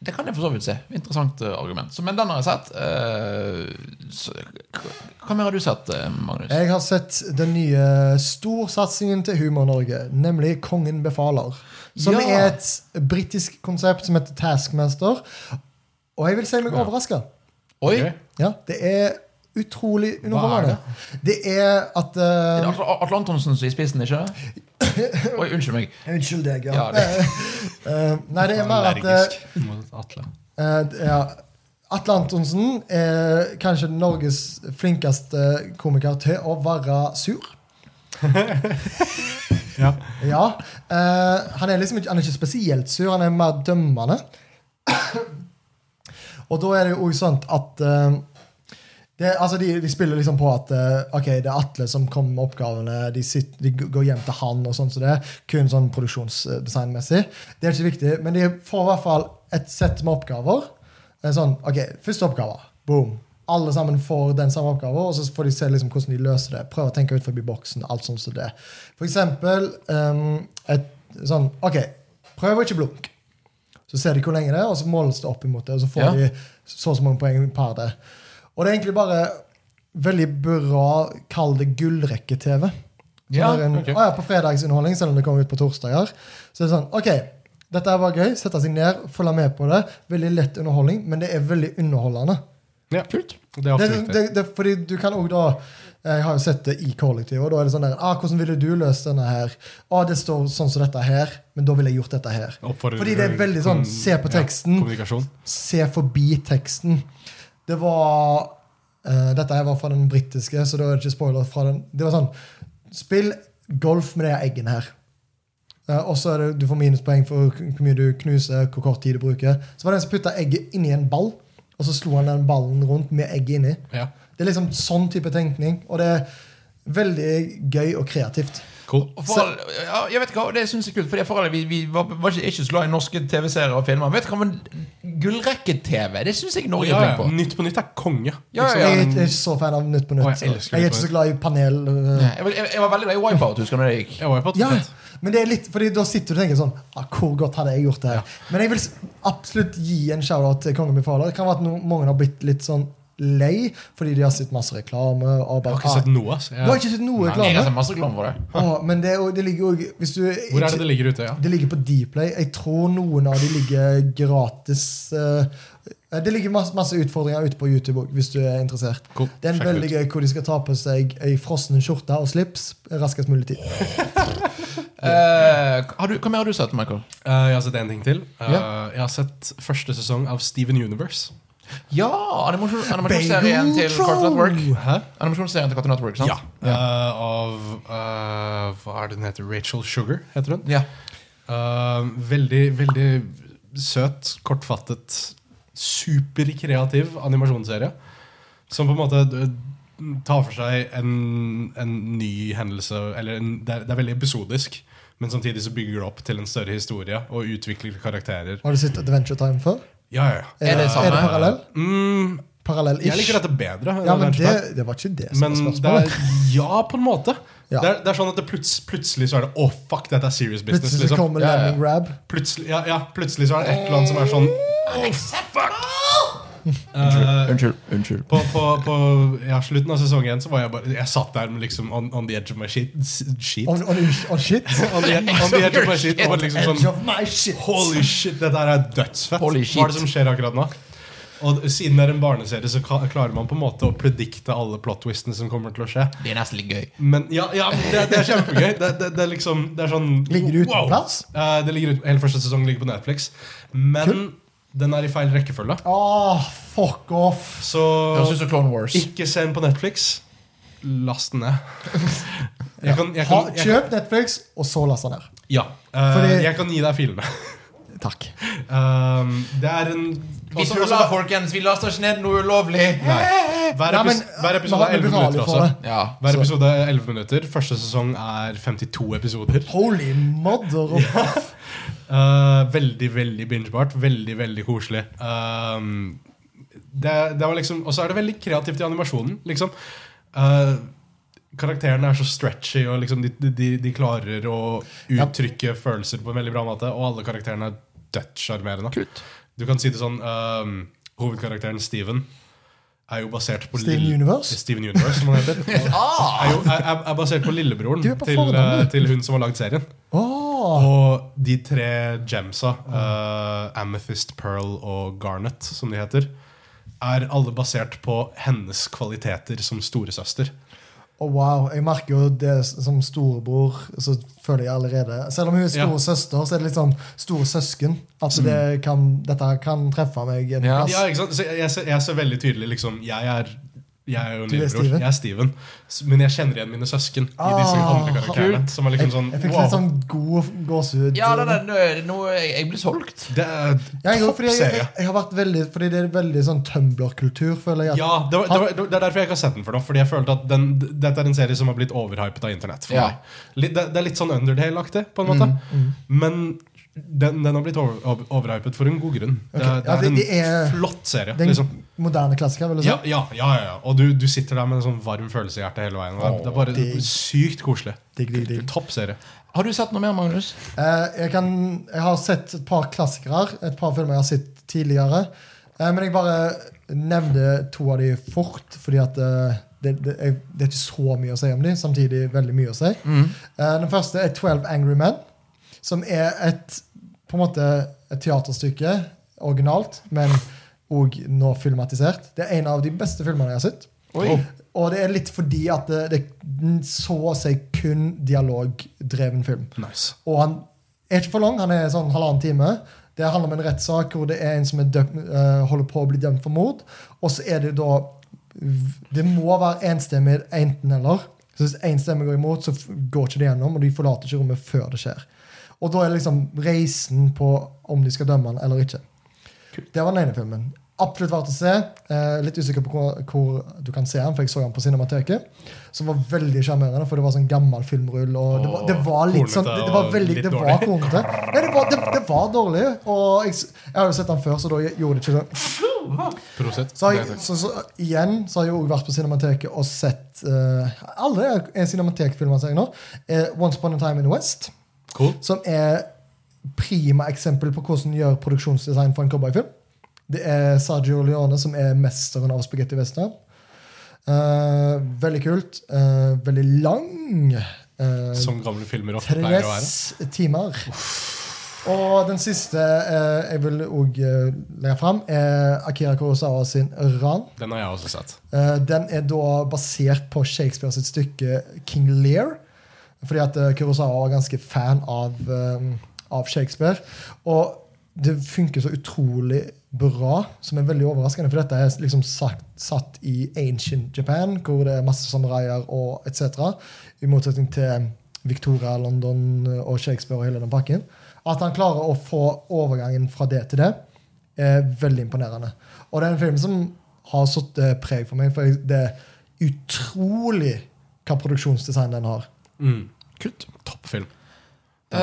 Speaker 1: Det kan jeg for så vidt se. Interessant eh, argument. Så, men den har jeg sett. Eh, så, hva- hva mer har du sett, eh, Magnus?
Speaker 3: Jeg har sett den nye storsatsingen til Humor Norge, nemlig Kongen befaler. Som
Speaker 1: Ja.
Speaker 3: er et britisk konsept som heter Taskmaster. Og jeg vil si meg overraska.
Speaker 1: Oi!
Speaker 2: Ok.
Speaker 1: Er
Speaker 3: Ja, det er utrolig
Speaker 2: Hva er
Speaker 3: underholdende.
Speaker 2: det?
Speaker 3: Det er at eh,
Speaker 1: det Atle Atle Antonsen som er i spissen, ikke det? Oi, unnskyld meg.
Speaker 3: Unnskyld deg, ja.
Speaker 1: Ja, det-
Speaker 3: Eh, nei, det er mer at eh,
Speaker 2: Allergisk mot Atle.
Speaker 3: Eh, d- ja. Atle Antonsen er kanskje Norges flinkeste komiker til å være sur.
Speaker 2: Ja.
Speaker 3: Ja. Eh, han, er liksom ikke, han er ikke spesielt sur, han er mer dømmende. Og da er det jo også sånn at eh, Det, altså de, de spiller liksom på at eh, Ok, det er Atle som kommer med oppgavene. De, sitter, de g- går hjem til han og sånn som det. Kun sånn produksjonsdesignmessig. Det er ikke viktig, men de får i hvert fall et sett med oppgaver. Eh, Sånn, ok, Første oppgave. Boom. Alle sammen får den samme oppgaven, og så får de se liksom hvordan de løser det. Prøve å tenke ut forbi boksen. alt sånt som det. For eksempel ehm, et sånn Ok, prøv å ikke blunke. Så ser de hvor lenge det er, og så måles det opp imot det. Og så får
Speaker 1: Ja.
Speaker 3: de så og så mange poeng per det. Og det er egentlig bare veldig bra, kall det gullrekke-TV. Så
Speaker 1: Ja,
Speaker 3: det er en-
Speaker 1: ok.
Speaker 3: «Å ja, på fredagsunderholdning, selv om det kommer ut på torsdager. Så er det sånn, ok, dette er bare gøy, sette seg ned, følge med på det. Veldig lett underholdning, men det er veldig underholdende.
Speaker 2: Ja. Kult. Det er
Speaker 3: Det,
Speaker 2: ofte
Speaker 3: det,
Speaker 2: riktig.
Speaker 3: det, fordi du kan også da Jeg har jo sett det i kollektivet, og da er det sånn der ah, 'Hvordan ville du løst denne her?' ah, 'Det står sånn som dette her, men da ville jeg gjort dette her.'
Speaker 2: Oppfordrer-
Speaker 3: Fordi det er veldig sånn, se på teksten.
Speaker 2: Ja, kommunikasjon.
Speaker 3: se forbi teksten. Det var eh, Dette her var fra den britiske, så det var ikke spoiler. fra den. Det var sånn Spill golf med de her eggene her. Eh, og så er det, du får minuspoeng for hvor hvor mye du knuser, hvor kort tid du bruker. Så var det en som putta egget inni en ball, og så slo han den ballen rundt med egget inni.
Speaker 2: Ja.
Speaker 3: Det er liksom sånn type tenkning, og det er veldig gøy og kreativt.
Speaker 2: Cool.
Speaker 1: Og forhold- ja, jeg vet ikke, hva, Det syns jeg er kult. Fordi forhold, vi, vi var, var ikke, ikke så glad i norske TV-serier og filmer. Vet du hva, men Gullrekke-TV det syns jeg Norge
Speaker 2: Ja,
Speaker 1: er
Speaker 2: ja.
Speaker 1: flink på.
Speaker 2: Nytt på nytt er konge.
Speaker 1: Ja,
Speaker 3: Så
Speaker 1: ja,
Speaker 3: jeg er
Speaker 1: ja.
Speaker 3: ikke jeg er ikke så fan av Nytt på
Speaker 2: Å,
Speaker 3: nytt.
Speaker 2: jeg elsker Nytt på
Speaker 3: Jeg er ikke så glad i panel. eh,
Speaker 1: Jeg, var- jeg var veldig glad i Wipeout. Husker du når det gikk?
Speaker 2: Jeg var jo på et
Speaker 3: Ja,
Speaker 2: fett.
Speaker 3: men det er litt, fordi da sitter du og tenker sånn ah, Hvor godt hadde jeg gjort det her? Men jeg vil s- absolutt gi en shout-out til Kongen befaler. Det kan være at no, mange har blitt litt sånn lei fordi de har sett masse reklame. Og
Speaker 2: Jeg har
Speaker 3: bare,
Speaker 2: ikke sett noe. ass. Jeg-
Speaker 3: ah, du har ikke sett
Speaker 2: Nei,
Speaker 3: noe
Speaker 1: Jeg har sett
Speaker 3: reklame?
Speaker 1: masse reklame for det.
Speaker 3: Å, men det, er jo- det ligger jo hvis du,
Speaker 2: Hvor er det det ligger ute? Ja.
Speaker 3: Det ligger på Dplay. Jeg tror noen av de ligger gratis. eh, det ligger masse, masse utfordringer ute på YouTube også, hvis du er interessert.
Speaker 2: Cool.
Speaker 3: Det er en
Speaker 2: Sjekk det
Speaker 3: veldig gøy hvor de skal ta på seg ei frossen skjorte og slips raskest mulig tid.
Speaker 1: Eh, har du, hva mer har du sett, Michael?
Speaker 2: Eh, jeg har sett én ting til. Eh,
Speaker 1: Ja.
Speaker 2: Jeg har sett første sesong av Steven Universe.
Speaker 1: Ja! animasjon- Animasjonsserien til Cartoon Network.
Speaker 2: Hæ?
Speaker 1: Animasjonsserien til Cartoon Network, sant?
Speaker 2: Ja. Eh, av eh, Hva er det hun heter? Rachel Sugar, heter hun.
Speaker 1: Ja.
Speaker 2: Eh, veldig, veldig søt, kortfattet, superkreativ animasjonsserie. Som på en måte eh, tar for seg en, en ny hendelse eller en, det, er, det er veldig episodisk. Men samtidig så bygger det opp til en større historie og utvikler karakterer.
Speaker 3: Har du sett Adventure Time før?
Speaker 2: Ja, ja, ja.
Speaker 1: Er det samme?
Speaker 3: Er det parallell?
Speaker 2: Mm,
Speaker 3: Parallell-ish?
Speaker 2: jeg liker dette bedre. enn
Speaker 3: Ja, men
Speaker 2: Adventure
Speaker 3: det,
Speaker 2: Time.
Speaker 3: det var ikke det som
Speaker 2: Men det
Speaker 3: var
Speaker 2: er,
Speaker 3: spørsmålet.
Speaker 2: ja, på en måte.
Speaker 3: Ja.
Speaker 2: Det, er, det er sånn at det pluts, plutselig så er det Å, fuck, dette er serious business.
Speaker 3: Plutselig så
Speaker 2: Liksom.
Speaker 3: kommer
Speaker 1: Ja, ja.
Speaker 3: Lemming Grab.
Speaker 2: Plutselig, ja, ja, plutselig så er det et eller annet som er sånn eh,
Speaker 1: Unnskyld. Unnskyld.
Speaker 2: på, på, på ja, slutten av sesong én så var jeg bare Jeg satt der med liksom on, on the edge of my shit. shit.
Speaker 3: On, on, on shit.
Speaker 2: On the, e- on the edge of my shit. Og var liksom
Speaker 3: Edge
Speaker 2: sånn
Speaker 3: of my shit.
Speaker 2: Holy shit, dette her er dødsfett.
Speaker 1: Holy
Speaker 2: Hva er
Speaker 1: shit.
Speaker 2: det som skjer akkurat nå? Og siden det er en barneserie, så ka- klarer man på en måte å predikte alle plot-twistene som kommer til å skje.
Speaker 1: Det er nesten litt gøy.
Speaker 2: Men ja, ja men det, det er kjempegøy. Det, det, det er liksom det er sånn
Speaker 3: Ligger det ute på
Speaker 2: wow.
Speaker 3: plass?
Speaker 2: Eh, det ligger ut, Hele første sesong ligger på Netflix. Men den er i feil rekkefølge.
Speaker 3: Åh, Ah, fuck off.
Speaker 2: Så
Speaker 1: Høres ut som Clone Wars.
Speaker 2: ikke se den på Netflix. Last den ned. Jeg kan, jeg
Speaker 3: Ha,
Speaker 2: kan, jeg,
Speaker 3: kjøp Netflix, og så last den ned.
Speaker 2: ja, eh,
Speaker 3: Fordi-
Speaker 2: jeg kan gi deg filene.
Speaker 3: Takk.
Speaker 2: Um, det er en
Speaker 1: Vi
Speaker 2: også-
Speaker 1: tuller,
Speaker 2: også-
Speaker 1: folkens. Vi laster ikke ned noe ulovlig.
Speaker 3: Eh,
Speaker 2: Nei. Hver,
Speaker 3: Nei,
Speaker 2: epis
Speaker 3: men,
Speaker 2: hver
Speaker 3: nå
Speaker 2: episode
Speaker 3: har
Speaker 2: er
Speaker 3: vi
Speaker 2: 11
Speaker 3: betalt
Speaker 2: minutter.
Speaker 3: for
Speaker 2: Også.
Speaker 3: det.
Speaker 1: Ja.
Speaker 2: Hver
Speaker 3: Så-
Speaker 2: episode er 11 minutter. Første sesong er 52 episoder.
Speaker 3: Holy mother of
Speaker 2: Eh, veldig, veldig bingebart. Veldig, veldig koselig. Ehm, det, det var liksom Og så er det veldig kreativt i animasjonen. Liksom Eh, Karakterene er så stretchy, og liksom de, de, de klarer å uttrykke følelser på en veldig bra måte. Og alle karakterene er dødssjarmerende.
Speaker 1: Kult.
Speaker 2: Du kan si det sånn ehm, Hovedkarakteren Steven er jo basert på
Speaker 3: Steven
Speaker 2: lille-
Speaker 3: Universe?
Speaker 2: Steven Universe, som han heter.
Speaker 1: Ah!
Speaker 2: Er, jo, er, er- er basert på lillebroren
Speaker 3: Du er på Ah.
Speaker 2: til,
Speaker 3: fornavnet.
Speaker 2: eh, til hun som har lagd serien.
Speaker 3: Åh,
Speaker 2: Og de tre gemsa, eh, Amethyst, Pearl og Garnet, som de heter, er alle basert på hennes kvaliteter som storesøster.
Speaker 3: Å, Oh, wow. Jeg merker jo det som storebror, så føler jeg allerede Selv om hun er
Speaker 2: Ja.
Speaker 3: storesøster, så er det litt sånn storesøsken. At det kan, dette kan treffe meg en
Speaker 1: Mm. Ja.
Speaker 3: plass.
Speaker 2: Ja, ikke sant? Så jeg, jeg, ser, jeg ser veldig tydelig liksom, Jeg er Jeg er jo
Speaker 3: Du er
Speaker 2: lillebror.
Speaker 3: Steven?
Speaker 2: Jeg er Steven. S- Men jeg kjenner igjen mine søsken i disse
Speaker 3: Ah,
Speaker 2: andre karakterene. Som er liksom
Speaker 3: Jeg,
Speaker 2: sånn
Speaker 3: jeg fikk
Speaker 2: wow.
Speaker 3: litt sånn god gåsehud.
Speaker 1: Ja, det er det. Nå, nå- jeg, jeg blir solgt.
Speaker 2: Det er
Speaker 3: Ja, jeg,
Speaker 2: topp
Speaker 3: fordi jeg, jeg,
Speaker 2: serie.
Speaker 3: jeg har vært veldig Fordi det er veldig sånn Tumblr-kultur, føler jeg. at-
Speaker 2: Ja, det, var, det, var, det er derfor jeg ikke har sett den for noe. Fordi jeg følte at den, Dette er en serie som har blitt overhypet av internett. for
Speaker 1: Ja.
Speaker 2: meg Litt- det, det er litt sånn Underdale-aktig, på en måte.
Speaker 3: Mm,
Speaker 2: Men den, den har blitt over, over- overhypet for en god grunn. Det,
Speaker 3: Ok,
Speaker 2: er-
Speaker 3: ja,
Speaker 2: det er
Speaker 3: det- det er-
Speaker 2: en flott serie.
Speaker 3: Den liksom?
Speaker 2: liksom
Speaker 3: moderne klassiker, vil jeg si.
Speaker 2: ja, ja, ja, ja, ja. Og du, du sitter der med en sånn varm følelse i hjertet hele veien. og det er bare
Speaker 3: Åh, digg.
Speaker 2: sykt koselig.
Speaker 3: Digg, digg, digg.
Speaker 2: Topp serie.
Speaker 1: Har du sett noe mer, Magnus?
Speaker 3: Eh, jeg, kan, jeg har sett et par klassikere, et par filmer jeg har sett tidligere. Eh, men jeg bare nevner to av de fort, fordi at eh, det, det, er, det er ikke så mye å si om de, samtidig veldig mye å si.
Speaker 2: Mm.
Speaker 3: Eh, den første er 12 Angry Men, som er et, på en måte, et teaterstykke originalt, men òg nå filmatisert. Det er en av de beste filmene jeg har sett.
Speaker 1: Oi.
Speaker 3: Og det er litt fordi at det, det er så å si kun dialogdreven film.
Speaker 2: Nice.
Speaker 3: Og han er ikke for lang, han er sånn halvannen time. Det handler om en rettssak hvor det er en som er dømt, eh, holder på å bli dømt for mord. Og så er det da Det må være enstemmig enten-eller. Så Hvis én stemme går imot, så f- går ikke det gjennom, og de forlater ikke rommet før det skjer. Og da er liksom reisen på om de skal dømme han eller ikke. Det var den ene filmen. Absolutt verdt å se. Eh, litt usikker på hvor, hvor du kan se den, for jeg så den på Cinemateket. Som var veldig sjarmerende, for det var sånn gammel filmrull. Og det, var, det var litt
Speaker 2: Kornete
Speaker 3: sånn Det, det var
Speaker 2: og
Speaker 3: veldig
Speaker 2: litt
Speaker 3: Det var
Speaker 2: dårlig.
Speaker 3: kornete. Nei, det var, det, det var dårlig. Og jeg, s- jeg har jo sett den før, så da gjorde det ikke sånn.
Speaker 2: Prosit.
Speaker 3: Så, har jeg, så, så igjen så har jeg jo vært på Cinemateket og sett eh, Alle er Cinematek-filmer jeg nå. Eh, Once Upon a Time in the West,
Speaker 2: Cool.
Speaker 3: som er prima eksempel på hvordan gjør produksjonsdesign for en cowboyfilm. Det er Sergio Leone som er mesteren av spagetti western. Eh, veldig kult. Eh, veldig lang. Eh,
Speaker 2: Som gamle filmer ofte pleier å være.
Speaker 3: Tres timer. Og den siste eh, jeg vil òg eh, legge fram, er Akira Kurosawa sin Ran.
Speaker 2: Den har jeg også sett.
Speaker 3: Eh, den er da basert på Shakespeare sitt stykke King Lear. Fordi at eh, Kurosawa var ganske fan av, eh, av Shakespeare. Og det funker så utrolig bra, som er veldig overraskende. For dette er liksom sagt, satt i ancient Japan, hvor det er masse samuraier og etc. I motsetning til Victoria, London eh, og Shakespeare og hele den pakken. At han klarer å få overgangen fra det til det, er veldig imponerende. Og det er en film som har satt eh, preg for meg, for jeg- det er utrolig hva produksjonsdesign den har.
Speaker 2: Mm. Kult. Toppfilm.
Speaker 1: Eh,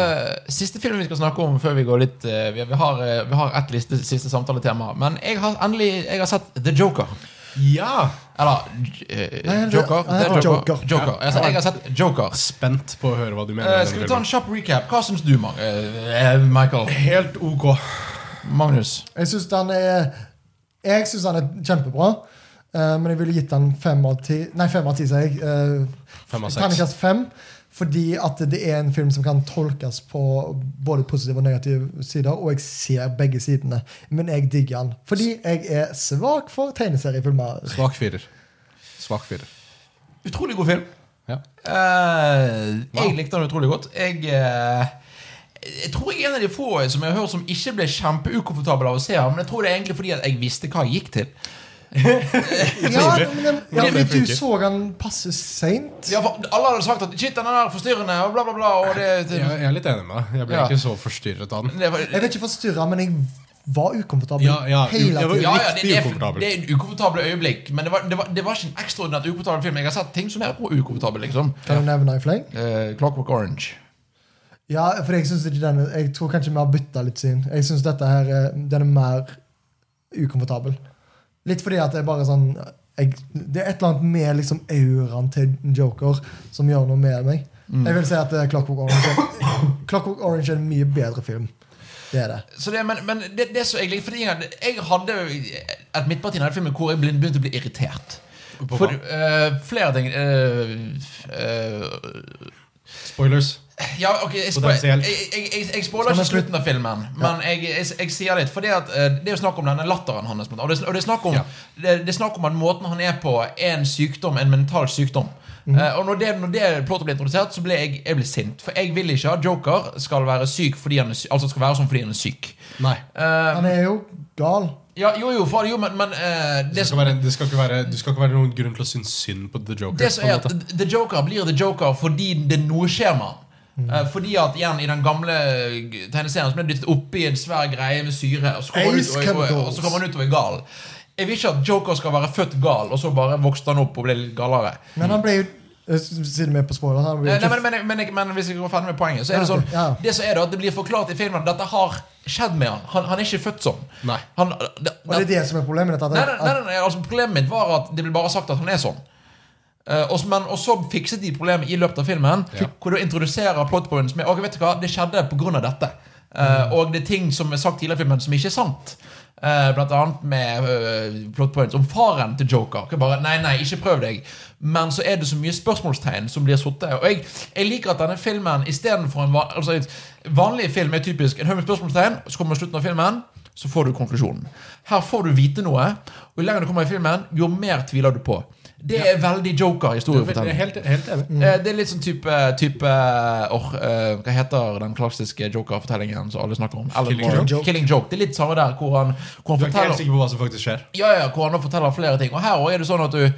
Speaker 1: siste film vi skal snakke om før vi går litt eh, vi, vi, har, eh, vi har ett liste, siste samtaletema. Men jeg har endelig jeg har sett The Joker.
Speaker 2: Ja!
Speaker 1: Eller eh,
Speaker 3: Nei, det-
Speaker 1: Joker.
Speaker 3: nei,
Speaker 1: The Joker.
Speaker 3: Joker.
Speaker 1: Joker. Altså, Jeg, har sett- jeg har sett Joker.
Speaker 2: Spent på å høre hva du mener.
Speaker 1: Eh,
Speaker 2: om
Speaker 1: skal
Speaker 2: den
Speaker 1: vi ta en
Speaker 2: filmen.
Speaker 1: kjapp recap? Hva syns du, Mag eh, Michael?
Speaker 2: Helt ok.
Speaker 1: Magnus?
Speaker 3: Jeg syns den er Jeg synes den er kjempebra, eh, men jeg ville gitt den fem av ti. Nei, fem av ti, sier jeg. Uh,
Speaker 2: Fem av seks.
Speaker 3: Terningkast fem. Fordi at det er en film som kan tolkes på både positive og negative sider, og jeg ser begge sidene. Men jeg digger den. Fordi jeg er svak for tegneseriefilmer.
Speaker 2: Svak firer. Svak firer.
Speaker 1: Utrolig god film.
Speaker 2: Ja.
Speaker 1: Eh,
Speaker 2: Wow.
Speaker 1: Jeg likte den utrolig godt. Jeg, eh, jeg tror jeg er en av de få som jeg har hørt som ikke ble kjempeukomfortabel av å se den, men jeg tror det er egentlig fordi at jeg visste hva jeg gikk til.
Speaker 3: Ja, men, den- ja,
Speaker 2: det
Speaker 3: fordi du
Speaker 2: funker.
Speaker 3: så den passe seint.
Speaker 1: Ja, for Alle hadde sagt at 'shit, den er forstyrrende', og bla, bla, bla. Og det, det,
Speaker 2: Jeg, jeg er litt enig med deg. Jeg ble
Speaker 1: Ja.
Speaker 2: ikke så forstyrret av den.
Speaker 1: det var,
Speaker 3: Jeg vet ikke forstyrra, men jeg var ukomfortabel
Speaker 2: Ja, ja,
Speaker 3: hele
Speaker 2: jeg var-
Speaker 3: tiden.
Speaker 1: ja, ja, det, det, er,
Speaker 2: ukomfortabel.
Speaker 1: det er en ukomfortable øyeblikk, men det var, det, var, det var ikke en ekstraordinært ukomfortabel film. Jeg har sett ting som er ukomfortable, liksom.
Speaker 3: Kan du nevne i fleng?
Speaker 1: Eh, 'Clockwork Orange'.
Speaker 3: Ja, for jeg synes ikke den Jeg tror kanskje vi har bytta litt syn. Jeg synes dette her eh, Den er mer ukomfortabel. Litt fordi at det er bare sånn jeg, Det er et eller annet med liksom auraen til Joker som gjør noe med meg.
Speaker 1: Mm.
Speaker 3: Jeg vil si at eh, Clockwork Orange, Clockwork Orange er en mye bedre film. Det er det.
Speaker 1: Så det, men men det, det som jeg likte fordi jeg, jeg hadde et midtparti i denne filmen hvor jeg ble- begynte å bli irritert.
Speaker 2: På
Speaker 1: For
Speaker 2: hva?
Speaker 1: eh, flere ting eh, eh,
Speaker 2: Spoilers.
Speaker 1: Ja, ok, jeg, spo- jeg,
Speaker 2: Potensielt.
Speaker 1: jeg, jeg, jeg spoiler ikke
Speaker 3: Skal vi slutte?
Speaker 1: slutten av filmen, men jeg, jeg, jeg sier litt. For det, at, eh, det er jo snakk om denne latteren hans. blant annet. Og det, er sn- og det er snakk om,
Speaker 2: Ja.
Speaker 1: det, det er snakk om at måten han er på, er en sykdom, en mental sykdom. Eh, og når det, når det plottet ble introdusert, så ble jeg, jeg ble sint. For jeg vil ikke at Joker skal være syk fordi han er syk, altså skal være sånn fordi han er syk.
Speaker 2: Nei.
Speaker 1: Eh,
Speaker 3: Han er jo gal.
Speaker 1: ja, jo, jo, faen, jo, men, men eh,
Speaker 2: Det
Speaker 1: det,
Speaker 2: skal være, det skal ikke være, du skal ikke være noen grunn til å synes synd på The Joker.
Speaker 1: Det som
Speaker 2: på en
Speaker 1: er at
Speaker 2: måte.
Speaker 1: The Joker blir The Joker fordi det noe skjer med han.
Speaker 3: Mm.
Speaker 1: Eh, Fordi at igjen i den gamle eh, tegneserien så ble han dyttet oppi en svær greie med syre, og så kommer han ut og- og- og- og så kommer han ut og er gal. Jeg vil ikke at Joker skal være født gal, og så bare vokste han opp og ble litt galere.
Speaker 3: Men han ble jo eh, Siden vi er på spoiler han ble jo
Speaker 1: Eh, Nei,
Speaker 3: ikke
Speaker 1: men, men, men, men, men hvis jeg går ferdig med poenget, så er det
Speaker 3: Ja,
Speaker 1: sånn
Speaker 3: ok, ja.
Speaker 1: Det som er da, at det blir forklart i filmen at dette har skjedd med han. Han, han er ikke født sånn.
Speaker 2: Nei.
Speaker 1: Han, det,
Speaker 3: Og det er det som er problemet. Dette,
Speaker 1: Nei,
Speaker 3: at,
Speaker 1: nei, nei, nei, altså Problemet mitt var at det ble bare sagt at han er sånn. Eh, og, så- men, og så fikset de problemet i løpet av filmen,
Speaker 2: Ja.
Speaker 1: hvor du introduserer plot points med Ok, vet du hva, det skjedde pga. dette. Eh, Og det er ting som er sagt tidligere i filmen, som ikke er sant. Eh, blant annet med eh, plot points om faren til Joker. Ikke bare, nei, nei, ikke prøv deg Men så er det så mye spørsmålstegn som blir sittet. Og jeg, jeg liker at denne filmen istedenfor en van, altså, et vanlig film er typisk en haug med spørsmålstegn, så kommer slutten av filmen, så får du konklusjonen. Her får du vite noe, og jo lenger du kommer i filmen, jo mer tviler du på. Det er veldig
Speaker 2: Jeg er
Speaker 1: joker-historiefortelling.
Speaker 2: helt, helt enig.
Speaker 1: Eh, Det er litt sånn type, type åh, eh, Hva heter den klassiske joker-fortellingen som alle snakker om? Alan
Speaker 2: Killing
Speaker 1: Moore.
Speaker 3: Joke.
Speaker 1: Killing Joke. Det er litt samme der, hvor han, hvor han
Speaker 2: Du er ikke helt
Speaker 1: forteller
Speaker 2: sikker på hva som faktisk skjer.
Speaker 1: ja, ja, hvor han da forteller flere ting. Og her også er det sånn at du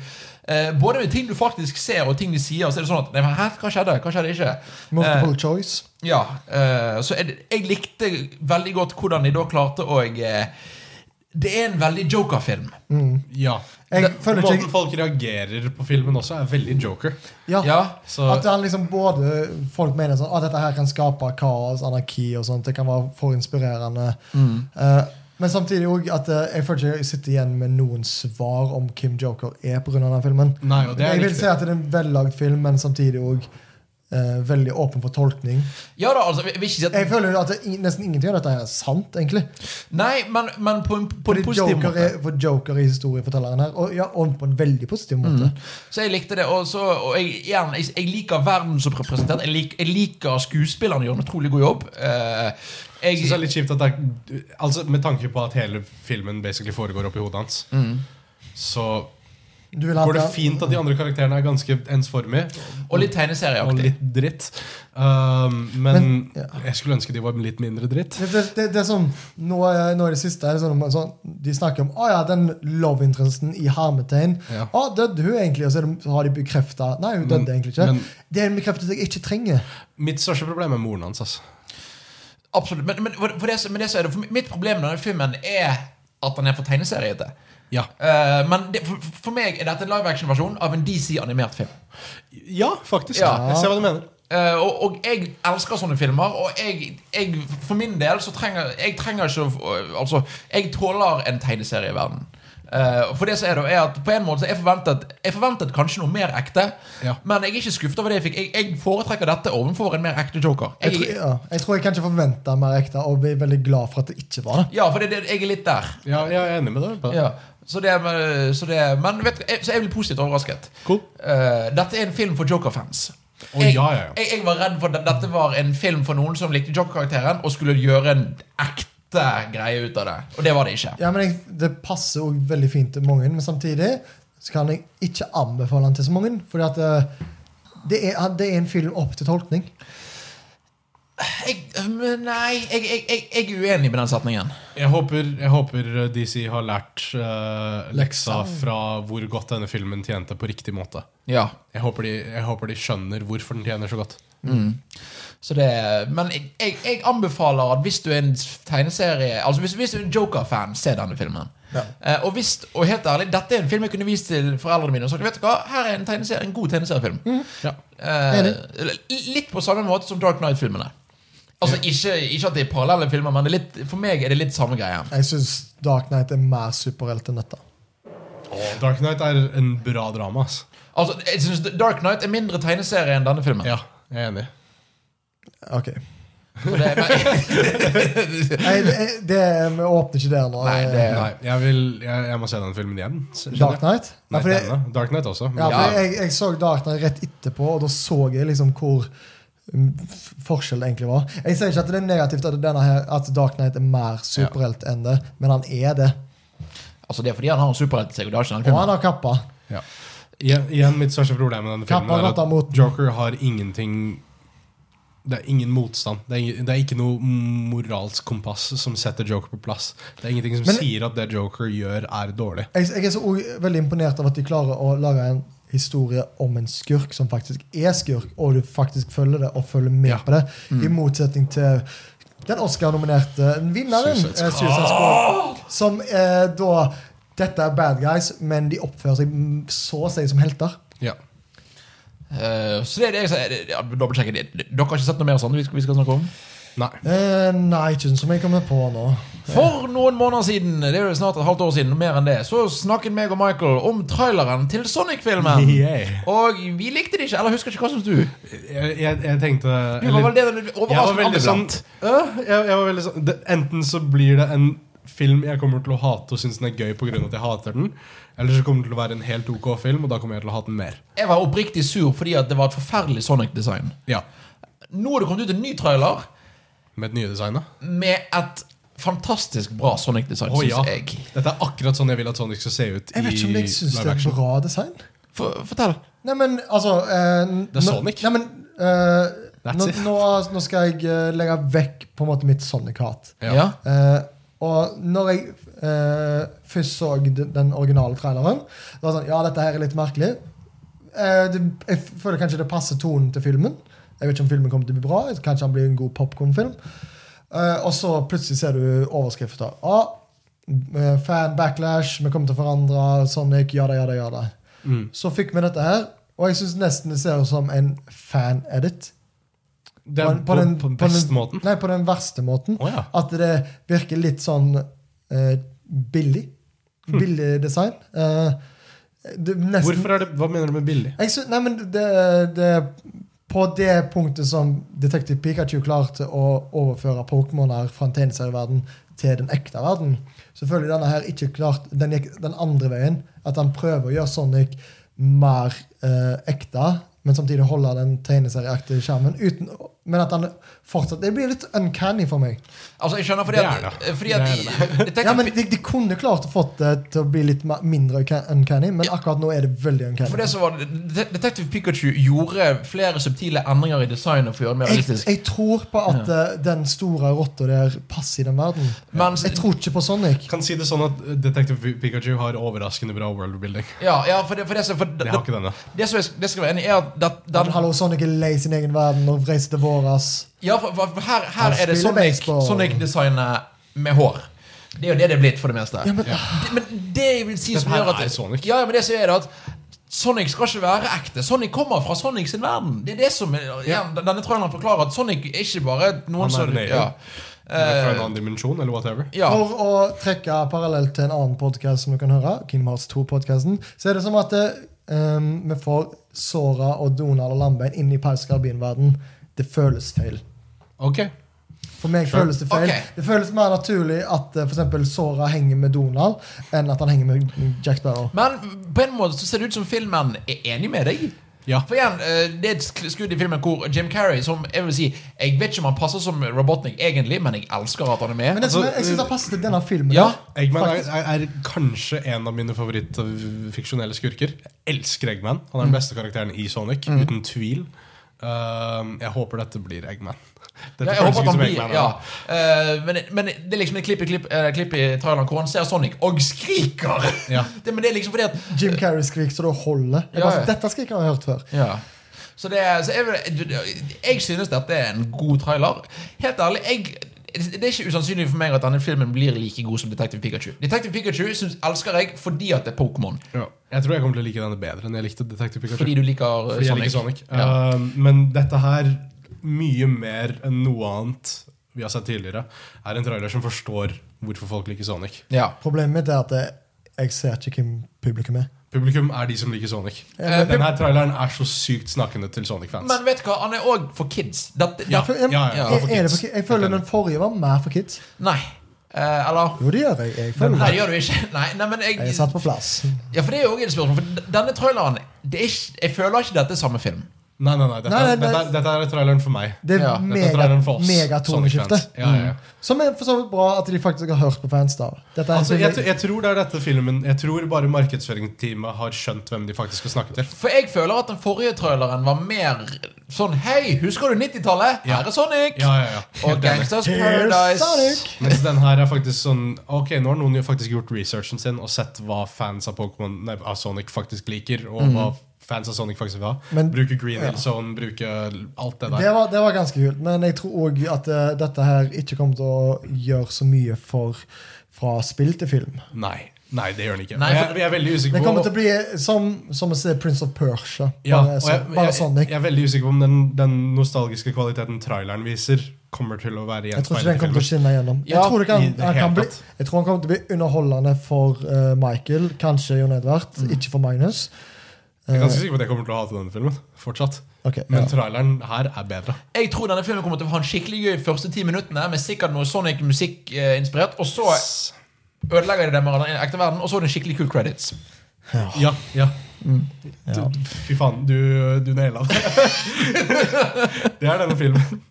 Speaker 1: eh, Både med ting du faktisk ser, og ting de sier, så er det sånn at Nei, men hæ, hva skjedde? Hva skjedde ikke?
Speaker 3: multiple choice.
Speaker 1: Ja, eh, så jeg, jeg likte veldig godt hvordan de da klarte å eh, Det er en veldig Joker-film.
Speaker 2: Ja.
Speaker 3: Jeg
Speaker 2: Det,
Speaker 3: føler ikke-
Speaker 2: måten folk reagerer på filmen også, er veldig Joker.
Speaker 3: Ja.
Speaker 1: Ja.
Speaker 2: Så
Speaker 3: At han liksom både Folk mener sånn at dette her kan skape kaos, anarki og sånt. Det kan være for inspirerende.
Speaker 2: Mm.
Speaker 3: Eh, men samtidig også at eh, jeg føler ikke jeg sitter igjen med noen svar om Kim Joker er pga. den filmen.
Speaker 2: Nei, og det er
Speaker 3: jeg vil
Speaker 2: riktig.
Speaker 3: si at det er en vellagd film, men samtidig òg veldig åpen for tolkning.
Speaker 1: ja da, altså vi- vi vil ikke si
Speaker 3: Jeg
Speaker 1: at
Speaker 3: føler jo at det, i- nesten ingenting av dette her er sant, egentlig.
Speaker 1: Nei, men, men på en, på en
Speaker 3: Fordi
Speaker 1: positiv
Speaker 3: Joker
Speaker 1: måte.
Speaker 3: er, for Joker er historiefortelleren her, og, ja, og på en veldig positiv
Speaker 2: Mm.
Speaker 3: måte.
Speaker 1: Så jeg likte det. Og, så, og jeg, igjen, jeg, jeg liker verden som representert. Jeg, lik, jeg liker skuespillerne gjør en utrolig god jobb. Eh,
Speaker 2: jeg
Speaker 1: jeg,
Speaker 2: synes det er litt kjipt at det er Altså, med tanke på at hele filmen basically foregår oppi hodet hans,
Speaker 1: Mm.
Speaker 2: så
Speaker 3: Du vil ha
Speaker 2: går det
Speaker 3: at-
Speaker 2: fint at de andre karakterene er ganske ensformige
Speaker 1: og litt
Speaker 2: og
Speaker 1: tegneserieaktig.
Speaker 2: litt dritt. Um, men
Speaker 3: Men- ja.
Speaker 2: jeg skulle ønske de var litt mindre dritt.
Speaker 3: Det, det, det, det er sånn, nå, er- nå i det siste er det sånn, om- sånn De snakker om å ja, den love interesten i hermetegn.
Speaker 2: Ja.
Speaker 3: Å, døde hun egentlig? Og så, er det, så har de bekrefta Nei, hun
Speaker 2: Men-
Speaker 3: døde egentlig ikke.
Speaker 2: men-
Speaker 3: det er en bekreftelse jeg ikke trenger.
Speaker 2: Mitt største problem er moren hans. Altså.
Speaker 1: Absolutt. Men, men, for, for det, som- men det som er det, for mitt problem med denne filmen er at den er for tegneseriete.
Speaker 2: Ja.
Speaker 1: Eh, men det, for, for meg er dette en live action-versjon av en DC-animert film.
Speaker 2: ja, faktisk.
Speaker 1: Ja.
Speaker 2: Jeg ser hva du mener.
Speaker 1: Eh, og, og jeg elsker sånne filmer, og jeg, jeg for min del så trenger jeg trenger ikke å- Altså, jeg tåler en tegneserie i verden. Eh, for det som er det, er at på en måte så jeg forventet, jeg forventet kanskje noe mer ekte,
Speaker 2: Ja.
Speaker 1: men jeg er ikke skuffet over det jeg fikk. Jeg, jeg foretrekker dette overfor en mer ekte joker.
Speaker 3: Jeg, tror,
Speaker 1: Jeg,
Speaker 3: ja, jeg tror jeg kan ikke forvente mer ekte, og blir veldig glad for at det ikke var det.
Speaker 1: ja, for det, det, jeg er litt der.
Speaker 2: Ja, jeg er enig med deg. på det.
Speaker 1: Ja. Så det, er- så det, er- men vet du, jeg, så jeg blir positivt overrasket.
Speaker 2: Cool.
Speaker 1: Eh, dette er en film for Joker-fans.
Speaker 2: Å,
Speaker 1: jeg,
Speaker 2: ja, ja, ja.
Speaker 1: jeg, jeg var redd for at dette var en film for noen som likte Joker-karakteren, og skulle gjøre en ekte greie ut av det. Og det var det ikke.
Speaker 3: Ja, men jeg, Det passer også veldig fint til mange, men samtidig så kan jeg ikke anbefale den til så mange. Fordi at eh, det er, det er en film opp til tolkning.
Speaker 1: Jeg, men nei, jeg, jeg, jeg, jeg er uenig med den setningen.
Speaker 2: Jeg håper, jeg håper DC har lært eh, leksa fra hvor godt denne filmen tjente på riktig måte.
Speaker 1: Ja.
Speaker 2: Jeg håper de, jeg håper de skjønner hvorfor den tjener så godt.
Speaker 1: Så det, men jeg, jeg, jeg anbefaler at hvis du er en tegneserie Altså Hvis, hvis du er en Joker-fan, se denne filmen.
Speaker 3: Ja.
Speaker 1: Eh, og, hvis, og helt ærlig, dette er en film jeg kunne vist til foreldrene mine og sagt Vet du hva, her er en, tegneserie, en god tegneseriefilm.
Speaker 2: Ja.
Speaker 1: Eh,
Speaker 3: Enig.
Speaker 1: li- litt på samme måte som Dark Knight-filmene. Altså ikke, ikke at det er parallelle filmer, men det er litt, for meg er det litt samme greia.
Speaker 3: Jeg syns Dark Knight er mer superhelt enn dette.
Speaker 2: Dark Knight er en bra drama. Ass.
Speaker 1: Altså, jeg synes Dark Knight er mindre tegneserie enn denne filmen.
Speaker 2: Ja, jeg er enig.
Speaker 3: Ok.
Speaker 1: For Det, men,
Speaker 3: Nei, det, det, vi åpner ikke der nå.
Speaker 1: Nei, det-
Speaker 2: Nei, jeg, vil, jeg, jeg må se den filmen igjen. s- skjønner
Speaker 3: Dark
Speaker 2: jeg.
Speaker 3: Knight?
Speaker 2: Nei,
Speaker 3: Ja, for jeg,
Speaker 2: denne. Dark Knight også. men-
Speaker 3: ja,
Speaker 1: Ja.
Speaker 3: for jeg, jeg så Dark Knight rett etterpå, og da så jeg liksom hvor mm, f- forskjell det egentlig var. Jeg sier ikke at det er negativt at, denne her, at Dark Knight er mer superhelt enn det, men han er det.
Speaker 1: altså, det er fordi han har en superhelt i seg, og det har ikke denne
Speaker 3: Og han
Speaker 1: filmen.
Speaker 3: har kappa.
Speaker 2: Ja. Igjen, igjen mitt største problem med denne filmen
Speaker 3: Kappa
Speaker 2: er
Speaker 3: rotta mot-
Speaker 2: at Joker har ingenting Det er ingen motstand. Det er, ingen, det er ikke noe moralsk kompass som setter Joker på plass. Det er ingenting som
Speaker 3: Men-
Speaker 2: sier at det Joker gjør, er dårlig.
Speaker 3: Jeg, jeg er så o- veldig imponert av at de klarer å lage en historie om en skurk som faktisk er skurk, og du faktisk følger det og følger med
Speaker 2: Ja. Mm.
Speaker 3: på det, i motsetning til den Oscar-nominerte vinneren,
Speaker 2: Suicide
Speaker 3: eh, Suicide Squad, som eh, da Dette er bad guys, men de oppfører seg mm, så å si som helter.
Speaker 2: Ja.
Speaker 1: Eh, så det er det jeg sier. Ja, dobbeltsjekker det. Dere har ikke sett noe mer sånn vi skal, vi skal snakke om?
Speaker 2: Nei.
Speaker 3: Eh, nei, ikke som jeg kommer på nå.
Speaker 1: For noen måneder siden, det er jo snart et halvt år siden, mer enn det, så snakket meg og Michael om traileren til Sonic-filmen.
Speaker 2: Yeah.
Speaker 1: Og vi likte det ikke. Eller husker ikke hva som du.
Speaker 2: Jeg, jeg, jeg tenkte
Speaker 1: Du var vel det den
Speaker 2: Jeg var
Speaker 1: overraskende
Speaker 2: veldig sånn,
Speaker 1: ambivalent.
Speaker 2: øh, jeg, jeg var veldig sånn det, Enten så blir det en film jeg kommer til å hate og synes den er gøy på grunn av at jeg hater den, eller så kommer det til å være en helt ok film, og da kommer jeg til å hate den mer.
Speaker 1: Jeg var oppriktig sur fordi at det var et forferdelig Sonic-design.
Speaker 2: Ja,
Speaker 1: Nå er det kommet ut en ny trailer
Speaker 2: Med det nye designet.
Speaker 1: med et fantastisk bra Sonic-design,
Speaker 2: Å,
Speaker 1: synes
Speaker 2: ja.
Speaker 1: jeg.
Speaker 2: Dette er akkurat sånn jeg vil at Sonic skal se ut
Speaker 3: Jeg vet ikke om
Speaker 2: i
Speaker 3: jeg syns det
Speaker 2: live
Speaker 3: er et
Speaker 2: action.
Speaker 3: bra design.
Speaker 1: For, fortell.
Speaker 3: Nei, men altså eh,
Speaker 2: Det er
Speaker 3: nå-
Speaker 2: Sonic.
Speaker 3: Nei, men, eh,
Speaker 2: That's
Speaker 3: nå,
Speaker 2: it.
Speaker 3: nå, nå skal jeg eh, legge vekk på en måte mitt Sonic-hat.
Speaker 2: Ja.
Speaker 1: Ja.
Speaker 3: Eh, og når jeg eh, først så den, den originale traileren, det var sånn Ja, dette her er litt merkelig. Eh, det, jeg føler kanskje det passer tonen til filmen. Jeg vet ikke om filmen kommer til å bli bra. Kanskje han blir en god popkornfilm. Eh, og så plutselig ser du overskrifter. Ah, eh, fan backlash, vi kommer til å forandre Sonic, jada, jada, jada. Så fikk vi dette her, og jeg syns nesten det ser ut som en fan-edit.
Speaker 2: Det er på, på den,
Speaker 3: på
Speaker 2: beste
Speaker 3: den-
Speaker 2: måten.
Speaker 3: Nei, på den verste måten.
Speaker 2: Å, ja.
Speaker 3: At det virker litt sånn eh, billig. Billig design. Eh, det, nesten,
Speaker 2: Hvorfor er det, Hva mener du med billig?
Speaker 3: Jeg sy- nei, men det, det, på det punktet som Detective Pikachu klarte å overføre Pokémoner fra en tegneserieverden til den ekte verden, så føler jeg denne her ikke klart den, gikk den andre veien. At han prøver å gjøre Sonic mer eh, ekte, men samtidig holde den tegneserieaktige skjermen. Uten, men at han fortsatt Det blir litt uncanny for meg.
Speaker 1: Altså, jeg skjønner fordi
Speaker 2: Det
Speaker 1: at,
Speaker 2: er det.
Speaker 1: fordi at
Speaker 2: Det er
Speaker 1: Detective
Speaker 3: Ja, men de, de kunne klart å fått det til å bli litt mer- mindre unca- uncanny, men akkurat nå er det veldig
Speaker 1: For
Speaker 3: uncanny.
Speaker 1: det som var Det- Detective Pikachu gjorde flere subtile endringer i designet for å gjøre det mer
Speaker 3: Jeg,
Speaker 1: realistisk.
Speaker 3: jeg tror på at eh, den store rotta der passer i den verden.
Speaker 1: Mens-
Speaker 3: jeg tror ikke på Sonic.
Speaker 2: Kan si det sånn at eh, Detective Pikachu har overraskende bra worldbuilding.
Speaker 1: Ja, ja, for det, for det, som- for det,
Speaker 2: Det har ikke denne.
Speaker 1: det som jeg det skal være enig i, er at det,
Speaker 3: Den,
Speaker 1: den,
Speaker 3: Hallo, Sonic er lei sin egen verden og reiser til våras.
Speaker 1: ja, for, for her, her
Speaker 3: Han
Speaker 1: er det
Speaker 3: spiller
Speaker 1: Sonic-
Speaker 3: baseball.
Speaker 1: Sonic-designet med hår. Det er jo det det er blitt, for det meste.
Speaker 3: Ja, men,
Speaker 1: Det- Men det jeg vil si
Speaker 2: Dette
Speaker 1: som
Speaker 2: her
Speaker 1: gjør at
Speaker 2: er Sonic.
Speaker 1: Ja, men det som er det at Sonic skal ikke være ekte. Sonic kommer fra Sonic sin verden. Det er det som er, igjen, Denne traileren forklarer at Sonic er ikke bare noen
Speaker 2: Han er
Speaker 1: som
Speaker 2: en alien.
Speaker 1: ja.
Speaker 2: Det er Fra en
Speaker 1: Eh,
Speaker 2: annen dimensjon, eller whatever.
Speaker 1: ja.
Speaker 3: For å trekke parallell til en annen podkast som du kan høre, Kingdom Hearts 2-podkasten, så er det som at det, ehm, vi får Sora og Donald og Lambein inn i Paus Karabin-verden. Det føles feil.
Speaker 2: Ok
Speaker 3: For meg
Speaker 2: Sure.
Speaker 3: føles det feil.
Speaker 1: Ok.
Speaker 3: Det føles mer naturlig at eh, for eksempel Sora henger med Donald, enn at han henger med Jack Sparrow.
Speaker 1: Men på en måte så ser det ut som filmen er enig med deg.
Speaker 2: Ja.
Speaker 1: For igjen, eh, Det er et sk- skudd i filmen hvor Jim Carrey som Jeg vil si, jeg vet ikke om han passer som Robotnik egentlig, men jeg elsker at han er
Speaker 3: Men
Speaker 1: med.
Speaker 3: det som
Speaker 2: Altså,
Speaker 3: jeg, jeg synes det passer til denne filmen.
Speaker 1: Ja.
Speaker 2: Eggman er,
Speaker 3: Faktisk.
Speaker 2: er, er kanskje en av mine favorittfiksjonelle skurker. Jeg elsker Eggman. Han er
Speaker 3: Mm.
Speaker 2: den beste karakteren i Sonic, uten tvil. Um, jeg håper dette blir Eggman. Dette
Speaker 1: Ja, jeg
Speaker 2: føles
Speaker 1: håper at
Speaker 2: ikke
Speaker 1: han
Speaker 2: som
Speaker 1: blir
Speaker 2: Eggman,
Speaker 1: ja.
Speaker 2: da.
Speaker 1: Eh, men, men det er liksom et klipp i, klipp, eh, klipp i traileren hvor han ser Sonic og skriker!
Speaker 2: Ja.
Speaker 1: Det, men det er liksom fordi at
Speaker 3: Jim Carrey skriker så det holder. Jeg
Speaker 1: Ja,
Speaker 3: bare,
Speaker 1: ja.
Speaker 3: Dette skal jeg ikke ha hørt før.
Speaker 1: Ja. Så, det, er- så jeg, vil- jeg synes dette er en god trailer. Helt ærlig, jeg, det er ikke usannsynlig for meg at denne filmen blir like god som Detective Pikachu. Detective Pikachu synes, elsker jeg fordi at det er Pokémon.
Speaker 2: Ja. Jeg tror jeg kommer til å like denne bedre enn jeg likte Detective Pikachu.
Speaker 1: Fordi du liker eh,
Speaker 2: Fordi jeg
Speaker 1: Sonic.
Speaker 2: liker Sonic.
Speaker 1: Ja.
Speaker 2: Um, men dette her, mye mer enn noe annet vi har sett tidligere, er en trailer som forstår hvorfor folk liker Sonic.
Speaker 1: Ja.
Speaker 3: Problemet mitt er at eh, jeg ser ikke hvem publikum er.
Speaker 2: Publikum er de som liker Sonic.
Speaker 3: Eh,
Speaker 2: Denne traileren er så sykt snakkende til Sonic-fans.
Speaker 1: Men vet du hva, han er òg for kids. Dette,
Speaker 2: Ja.
Speaker 1: dette-
Speaker 2: ja,
Speaker 3: Er,
Speaker 2: for
Speaker 3: er det
Speaker 2: kids.
Speaker 3: for, ki- jeg føler den forrige var mer for kids.
Speaker 1: Nei. Eh, eller
Speaker 3: Jo, det gjør jeg. Jeg føler
Speaker 1: Nei,
Speaker 3: det.
Speaker 1: det gjør du ikke. Nei, nei men
Speaker 3: Jeg er
Speaker 1: jeg
Speaker 3: satt på plass.
Speaker 1: Ja, for det er jo også et spørsmål. For d- denne traileren det er ikke, Jeg føler ikke dette er samme film.
Speaker 2: Nei, nei, nei. Dette,
Speaker 3: Nei, nei,
Speaker 2: dette,
Speaker 3: nei.
Speaker 2: er- dette er traileren for meg.
Speaker 3: Det er
Speaker 1: Ja,
Speaker 2: Dette er
Speaker 3: mega,
Speaker 2: traileren for oss.
Speaker 3: megatoneskifte.
Speaker 2: Sonic-fans. Ja, ja, ja.
Speaker 3: Som er for så vidt bra at de faktisk har hørt på fans. da Dette er
Speaker 2: Altså,
Speaker 3: en
Speaker 2: jeg, jeg tror det er dette filmen Jeg tror bare markedsføringsteamet har skjønt hvem de faktisk skal snakke til.
Speaker 1: For jeg føler at den forrige traileren var mer sånn Hei, husker du 90-tallet?
Speaker 2: Ja.
Speaker 1: Her er Sonic!
Speaker 2: Ja, ja, ja.
Speaker 1: Og
Speaker 2: Helt enig.
Speaker 1: Gangsters
Speaker 3: Here's
Speaker 1: Paradise.
Speaker 3: Sonic.
Speaker 2: Mens den her er faktisk sånn Ok, nå har noen jo faktisk gjort researchen sin og sett hva fans av Pokémon Nei, av Sonic faktisk liker, og hva fans av Sonic faktisk vil ha.
Speaker 3: Mhm. Men-
Speaker 2: bruke Green Hill Zone, bruke alt det der.
Speaker 3: Det var, det var ganske kult, men jeg tror òg at eh, dette her ikke kommer til å gjøre så mye for fra spill til film.
Speaker 2: Nei, nei, det gjør den ikke.
Speaker 1: Nei,
Speaker 2: Og
Speaker 1: for-
Speaker 2: jeg, jeg er veldig
Speaker 3: Det
Speaker 2: usikker på
Speaker 3: kommer til å bli som, som å se Prince of Persia. Bare,
Speaker 2: Ja, og
Speaker 3: så,
Speaker 2: jeg,
Speaker 3: bare sånn,
Speaker 2: jeg,
Speaker 3: Sonic.
Speaker 2: jeg er veldig usikker på om den, den nostalgiske kvaliteten traileren viser, kommer til å være
Speaker 3: Jeg tror ikke den kommer til å
Speaker 2: gjenspeilet.
Speaker 3: skinne gjennom. Jeg
Speaker 1: Ja,
Speaker 3: tror, det kan,
Speaker 2: i det
Speaker 3: han kan
Speaker 2: hele
Speaker 3: bli,
Speaker 2: tatt.
Speaker 3: jeg tror han kommer til å bli underholdende for eh, Michael, kanskje Jon Edvard,
Speaker 2: Mm.
Speaker 3: ikke for Magnus.
Speaker 2: Jeg er ganske sikker på at jeg kommer til å hate denne filmen fortsatt.
Speaker 3: Ok,
Speaker 2: Men
Speaker 3: ja.
Speaker 2: traileren her er bedre.
Speaker 1: Jeg tror denne filmen kommer til å ha en skikkelig gøy første ti minuttene, med sikkert noe Sonic-musikk eh, inspirert. Og så ødelegger de det med den ekte verden, og så er det en skikkelig cool credits.
Speaker 2: Ja, ja.
Speaker 3: Ja.
Speaker 2: Du, fy faen, du, du naila det. det er denne filmen.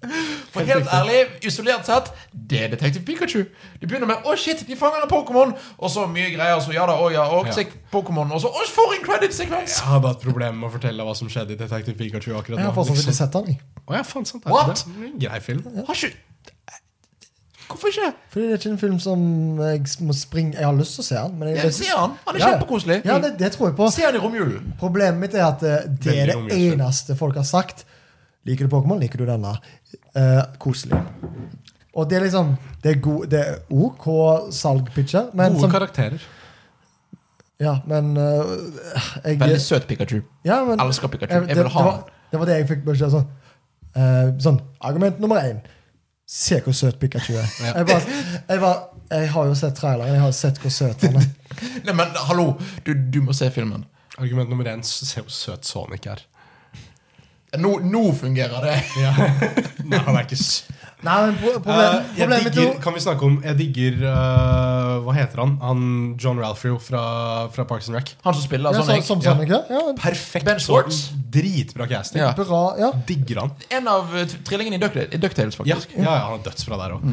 Speaker 1: For helt ærlig, isolert sett, det er Detektiv Pikachu. De begynner med 'Å, shit, de fanger en Pokémon', og så mye greier. Så ja da, å ja, og
Speaker 2: Ja.
Speaker 1: se Pokémon, og så Å, for en credit-sekvens!
Speaker 2: Jeg hadde hatt problemer med å fortelle hva som skjedde i Detective Pikachu akkurat
Speaker 3: Jeg har
Speaker 2: nå.
Speaker 3: fortsatt ikke
Speaker 2: liksom.
Speaker 3: sett han, jeg.
Speaker 2: Å ja, faen, sant. er
Speaker 1: What?
Speaker 2: Det det er en grei film.
Speaker 1: Har ikke Hvorfor ikke?
Speaker 3: Fordi det er ikke en film som jeg må springe Jeg har lyst til å se han, men jeg
Speaker 1: Jeg ser han. Han er
Speaker 3: Ja, ja.
Speaker 1: kjempekoselig.
Speaker 3: Ja, det, det tror jeg på.
Speaker 1: Se han i romjulen.
Speaker 3: Problemet mitt er at eh, det er
Speaker 2: Veldig
Speaker 3: det
Speaker 2: omgjørelse.
Speaker 3: eneste folk har sagt. Liker du Pokémon, liker du denne. Eh, koselig. Og det er liksom Det er, god, det er OK salgpitcher, men,
Speaker 2: Gode
Speaker 3: som,
Speaker 2: karakterer.
Speaker 3: ja, men eh,
Speaker 1: Veldig
Speaker 3: jeg,
Speaker 1: søt Pikachu.
Speaker 3: ja, men,
Speaker 1: Elsker Pikachu.
Speaker 3: jeg-
Speaker 1: Jeg vil ha
Speaker 3: det,
Speaker 1: han.
Speaker 3: var, det var det jeg fikk beskjed om. Sånn, eh, sånn argument nummer én. Se hvor søt Pikachu er. Jeg, bare, jeg, bare, jeg har jo sett traileren. Jeg har sett hvor søt han er.
Speaker 1: Nei, men hallo, du, du må se filmen.
Speaker 2: Argument nummer én se hvor søt Sonic er.
Speaker 1: Nå, nå fungerer det.
Speaker 2: Nei, han er ikke s...
Speaker 3: Nei, men pro- problem,
Speaker 2: Eh, jeg
Speaker 3: problemet mitt er
Speaker 2: digger,
Speaker 3: jo-
Speaker 2: kan vi snakke om Jeg digger eh, Hva heter han? han John Ralphio fra, fra Parks and Rec.
Speaker 1: Han som spiller
Speaker 3: ja, så,
Speaker 1: Sonic.
Speaker 3: Som
Speaker 2: ja.
Speaker 3: Sonic, ja. ja
Speaker 2: Perfekt.
Speaker 1: Ben Schwartz.
Speaker 2: så- Dritbra casting.
Speaker 1: Ja.
Speaker 3: bra, ja.
Speaker 2: Digger han.
Speaker 1: En av eh, t- trillingene i Duck- i DuckTales,
Speaker 2: Ja,
Speaker 1: faktisk.
Speaker 2: ja, ja, han er dødsbra der òg.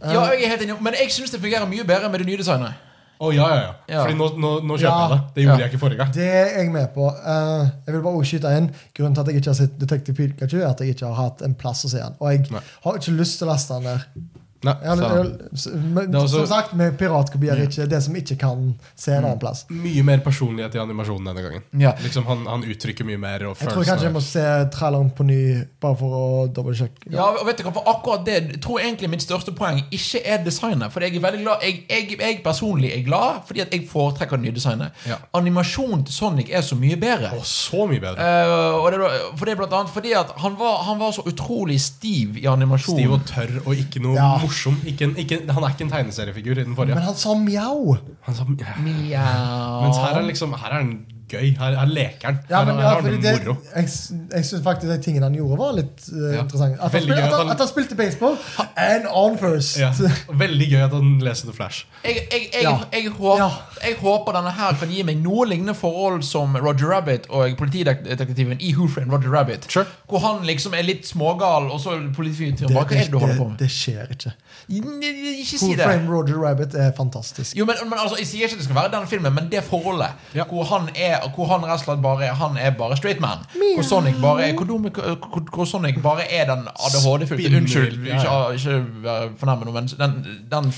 Speaker 1: Ja, jeg er helt enig, men jeg syns det fungerer mye bedre med det nye designet.
Speaker 2: Å, ja, ja, ja.
Speaker 1: Ja.
Speaker 2: Fordi nå, nå, nå kjøper jeg
Speaker 3: Ja.
Speaker 2: det. Det gjorde
Speaker 1: Ja.
Speaker 2: jeg ikke forrige gang.
Speaker 3: Det er jeg med på. Eh, jeg vil bare også skyte inn Grunnen til at jeg ikke har sett Detective Pikachu, er at jeg ikke har hatt en plass å se den. Og jeg
Speaker 2: Nei.
Speaker 3: har ikke lyst til å laste den der.
Speaker 2: Nei,
Speaker 3: Jeg har, jeg,
Speaker 2: så-
Speaker 3: s- men,
Speaker 2: Det er også- Mm.
Speaker 3: som sagt, med piratkopier er ikke det som ikke kan se en annen plass.
Speaker 2: Mye mer personlighet i animasjonen denne gangen.
Speaker 1: Ja.
Speaker 2: Liksom Han, han uttrykker mye mer. Og
Speaker 3: Jeg tror kanskje jeg må se traileren på ny, bare for å dobbeltsjekke.
Speaker 1: Ja, og vet du hva, for akkurat det jeg tror egentlig mitt største poeng ikke er designet. For jeg er veldig glad Jeg, jeg, jeg personlig er glad fordi at jeg foretrekker det nye designet.
Speaker 2: Ja.
Speaker 1: Animasjonen til Sonic er så mye bedre.
Speaker 2: Å, så mye bedre.
Speaker 1: Eh, og det, var- for det er blant annet fordi at han var, han var så utrolig stiv i animasjonen.
Speaker 2: Stiv og tørr og ikke noe
Speaker 3: Ja.
Speaker 2: morsom. Ikke en, ikke, han er ikke en tegneseriefigur i den forrige.
Speaker 3: Men han sa mjau!
Speaker 2: Han sa, mens
Speaker 1: Mjau.
Speaker 2: her er liksom Her er han gøy. Her, her leker han. her,
Speaker 3: Ja, men,
Speaker 2: her
Speaker 3: ja,
Speaker 2: har
Speaker 3: fordi
Speaker 2: han
Speaker 3: det,
Speaker 2: det moro.
Speaker 3: jeg s- jeg syns faktisk de tingene han gjorde, var litt eh,
Speaker 2: Ja.
Speaker 3: interessante. At han,
Speaker 2: Veldig
Speaker 3: spil,
Speaker 2: gøy
Speaker 3: at,
Speaker 2: at
Speaker 3: han,
Speaker 2: han-
Speaker 3: at han spilte baseball and on first!
Speaker 2: Ja. Veldig gøy at han leser The Flash.
Speaker 1: Jeg, jeg, jeg,
Speaker 3: Ja.
Speaker 1: jeg, håper,
Speaker 3: Ja.
Speaker 1: jeg håper denne her kan gi meg noe lignende forhold som Roger Rabbit og politidetektiven i Who Framed Roger Rabbit.
Speaker 2: Sure.
Speaker 1: Hvor han liksom er litt smågal, og så er politifyren Hva er det du holder på med?
Speaker 3: det skjer ikke.
Speaker 1: N- n- Ikke si
Speaker 3: Who
Speaker 1: det.
Speaker 3: Framed Roger Rabbit er fantastisk.
Speaker 1: Jo, men, men altså, Jeg sier ikke at det skal være den filmen, men det forholdet.
Speaker 2: Ja.
Speaker 1: Hvor han er hvor han rett og slett bare er Han er bare straight man. Hvor Sonic bare er, hvor dum- hvor, hvor Sonic bare er den ADHD-fylte
Speaker 2: Spinner,
Speaker 1: Unnskyld,
Speaker 2: ja,
Speaker 1: ikke, ah,
Speaker 2: ja.
Speaker 1: ikke vær fornærmet noe, men den, den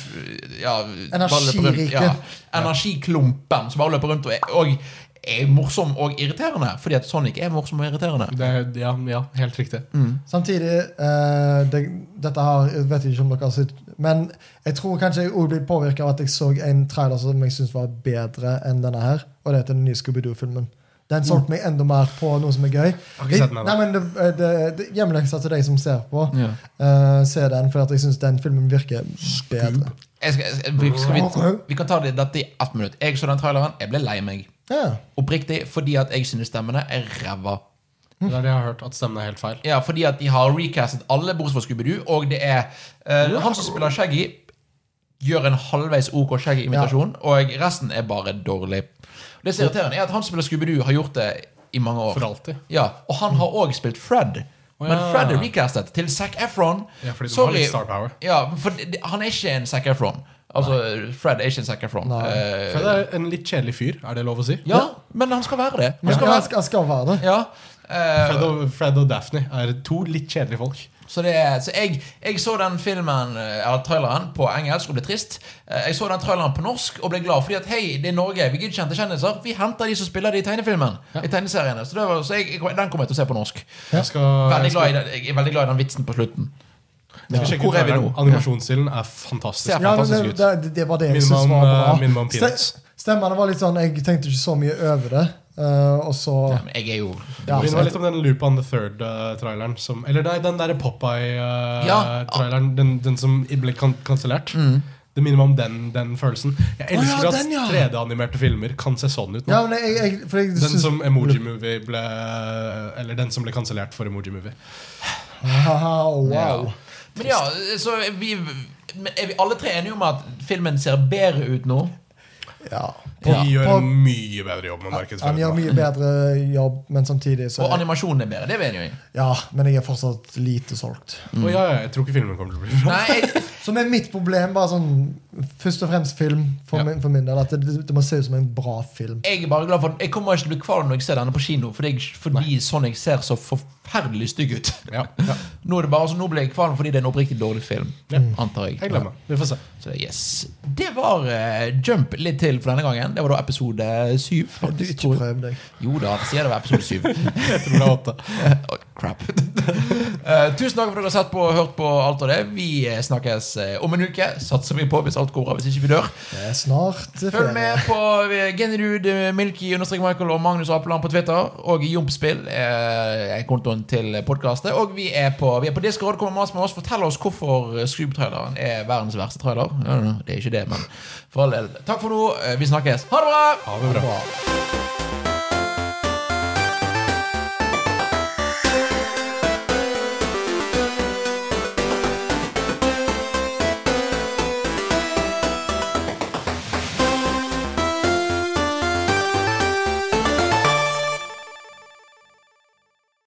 Speaker 1: ja,
Speaker 3: Energirike.
Speaker 1: bare løper rundt, energiklumpen som bare løper rundt og er, og er morsom og irriterende. Fordi at Sonic er morsom og irriterende.
Speaker 2: Det, ja, ja, helt riktig.
Speaker 3: Mm. Samtidig eh, det, Dette har, jeg vet ikke om dere har sett Men jeg tror kanskje jeg også blir påvirket av at jeg så en trailer som jeg synes var bedre enn denne her. Og det er til den nye Scooby-Doo-filmen. Den
Speaker 1: Mm.
Speaker 3: solgte meg enda mer på noe som er gøy.
Speaker 2: har ikke sett den ennå.
Speaker 3: Nei, men det, det, det Hjemmeleksa til deg som ser på.
Speaker 1: Ja.
Speaker 3: eh, se den, for at jeg syns den filmen virker bedre.
Speaker 1: Jeg skal, jeg, vi, skal vi, vi kan ta det, dette i ett minutt. Jeg så den traileren. Jeg ble lei meg.
Speaker 3: Ja.
Speaker 1: Oppriktig fordi at jeg synes stemmene er ræva.
Speaker 2: Det er det jeg har hørt, at stemmen er helt feil.
Speaker 1: Ja, fordi at de har recastet alle bortsett fra Scooby-Doo, og det er eh, han som spiller Shaggy, gjør en halvveis OK Shaggy-imitasjon, og resten er bare dårlig. Det som er irriterende, er at han som spiller Scooby-Doo, har gjort det i mange år.
Speaker 2: For alltid.
Speaker 1: Ja, Og han har òg spilt Fred.
Speaker 2: Å,
Speaker 1: Men
Speaker 2: ja.
Speaker 1: Fred er recastet til Zac Efron.
Speaker 2: Ja, fordi de har
Speaker 1: Sorry.
Speaker 2: litt star power.
Speaker 1: Ja, for det- det- han er ikke en Zac Efron. Altså, Fred er ikke en Zac Efron.
Speaker 3: Nei.
Speaker 1: Eh,
Speaker 2: For det er en litt kjedelig fyr, er det lov å si?
Speaker 1: ja, men han skal være det. Han skal
Speaker 3: Han skal, han
Speaker 1: være,
Speaker 3: skal, han skal være det.
Speaker 1: ja. Eh,
Speaker 2: Fred og, Fred og Daphne er to litt kjedelige folk.
Speaker 1: Så, det er, så jeg, jeg så den filmen, eh, eller traileren på engelsk og ble trist. Eh, Jeg så den traileren på norsk og ble glad, fordi at hei, det er Norge. Vi gidder ikke hente kjendiser. Vi henter de som spiller de i tegnefilmen. I tegneseriene Så, det var, så jeg, jeg, den kommer jeg til å se på norsk.
Speaker 2: Jeg skal,
Speaker 1: Veldig
Speaker 2: jeg skal,
Speaker 1: glad i den, jeg er veldig glad i den vitsen på slutten.
Speaker 2: jeg skal sjekke
Speaker 1: Hvor
Speaker 2: ut
Speaker 1: er vi
Speaker 2: traileren.
Speaker 1: nå?
Speaker 2: Animasjonsstilen er fantastisk.
Speaker 1: Ser
Speaker 3: Ja, men
Speaker 2: fantastisk
Speaker 3: det,
Speaker 2: ut.
Speaker 3: det, det var det jeg
Speaker 2: Minner
Speaker 3: syntes
Speaker 2: meg
Speaker 3: var
Speaker 2: om, eh,
Speaker 3: bra.
Speaker 2: minner meg om
Speaker 3: Ste-
Speaker 2: Peanuts.
Speaker 3: Stemmene var litt sånn Jeg tenkte ikke så mye over det. eh, og så
Speaker 1: Ja, men jeg er jo
Speaker 3: ja,
Speaker 2: Minner
Speaker 3: så-
Speaker 2: meg litt om den Loop on the Third-traileren. som eller nei, den derre
Speaker 1: Ja. Mm.
Speaker 2: Popeye-traileren. den, den som ble kan kansellert. Det minner meg om den, den følelsen. Jeg
Speaker 3: Å ja,
Speaker 2: elsker
Speaker 3: den, ja.
Speaker 2: at 3D-animerte filmer kan se sånn ut nå.
Speaker 3: Ja, men jeg, jeg, for jeg
Speaker 2: Den
Speaker 3: syns-
Speaker 2: som Emoji Movie ble eh, Eller den som ble kansellert for Emoji Movie.
Speaker 3: Haha, wow.
Speaker 1: Ja. Men ja, så er vi, men er vi alle tre enige om at filmen ser bedre ut nå?
Speaker 3: Ja.
Speaker 2: De
Speaker 1: Ja.
Speaker 2: gjør
Speaker 3: På-
Speaker 2: en mye bedre jobb med
Speaker 3: Han gjør
Speaker 2: markedsføring.
Speaker 3: mye bedre jobb, men samtidig så
Speaker 1: Og animasjonen er bedre. Det er vi enige om.
Speaker 3: Ja, men jeg er fortsatt lite solgt.
Speaker 2: Å, ja, ja, jeg tror ikke filmen kommer til å bli bra.
Speaker 1: Nei, jeg,
Speaker 3: Som er mitt problem. bare sånn Først og fremst film, for,
Speaker 2: Ja.
Speaker 3: min, for min del. At det, det må se ut som en bra film.
Speaker 1: jeg er bare glad for Jeg kommer ikke til å bli kvalm når jeg ser denne på kino, fordi, jeg, fordi sånn jeg ser så forferdelig stygg ut.
Speaker 2: Ja, ja.
Speaker 1: Nå er det bare så nå ble jeg kvalm fordi det er en oppriktig dårlig film. Antar jeg.
Speaker 2: Jeg gleder meg. Vi får se.
Speaker 1: Så yes. Det var eh, Jump litt til for denne gangen. Det var da episode syv.
Speaker 3: Har du
Speaker 1: faktisk,
Speaker 3: ikke
Speaker 1: tror jeg.
Speaker 3: prøvd deg?
Speaker 1: Jo da, det sier det var episode syv.
Speaker 2: Jeg tror det er åtte.
Speaker 1: Oi, crap. Eh, tusen takk for at dere har sett på og hørt på alt av det. Vi eh, snakkes eh, om en uke. Satser vi på hvis alt går bra, hvis ikke vi dør.
Speaker 3: Det er snart
Speaker 1: Følg
Speaker 3: ferie.
Speaker 1: med på eh, Generud, eh, Milky, understrek Michael og Magnus Apeland på Twitter. Og Jompspill eh, er kontoen til podkastet. Og vi er på, vi er på Discord. Kom og mas med oss. Fortell oss hvorfor eh, Scoob-traileren er verdens verste trailer. Ja, ja, Det er ikke det, men for all del. Takk for nå. Eh, Vi snakkes. Ha det bra!
Speaker 2: Ha det bra.
Speaker 3: Bra.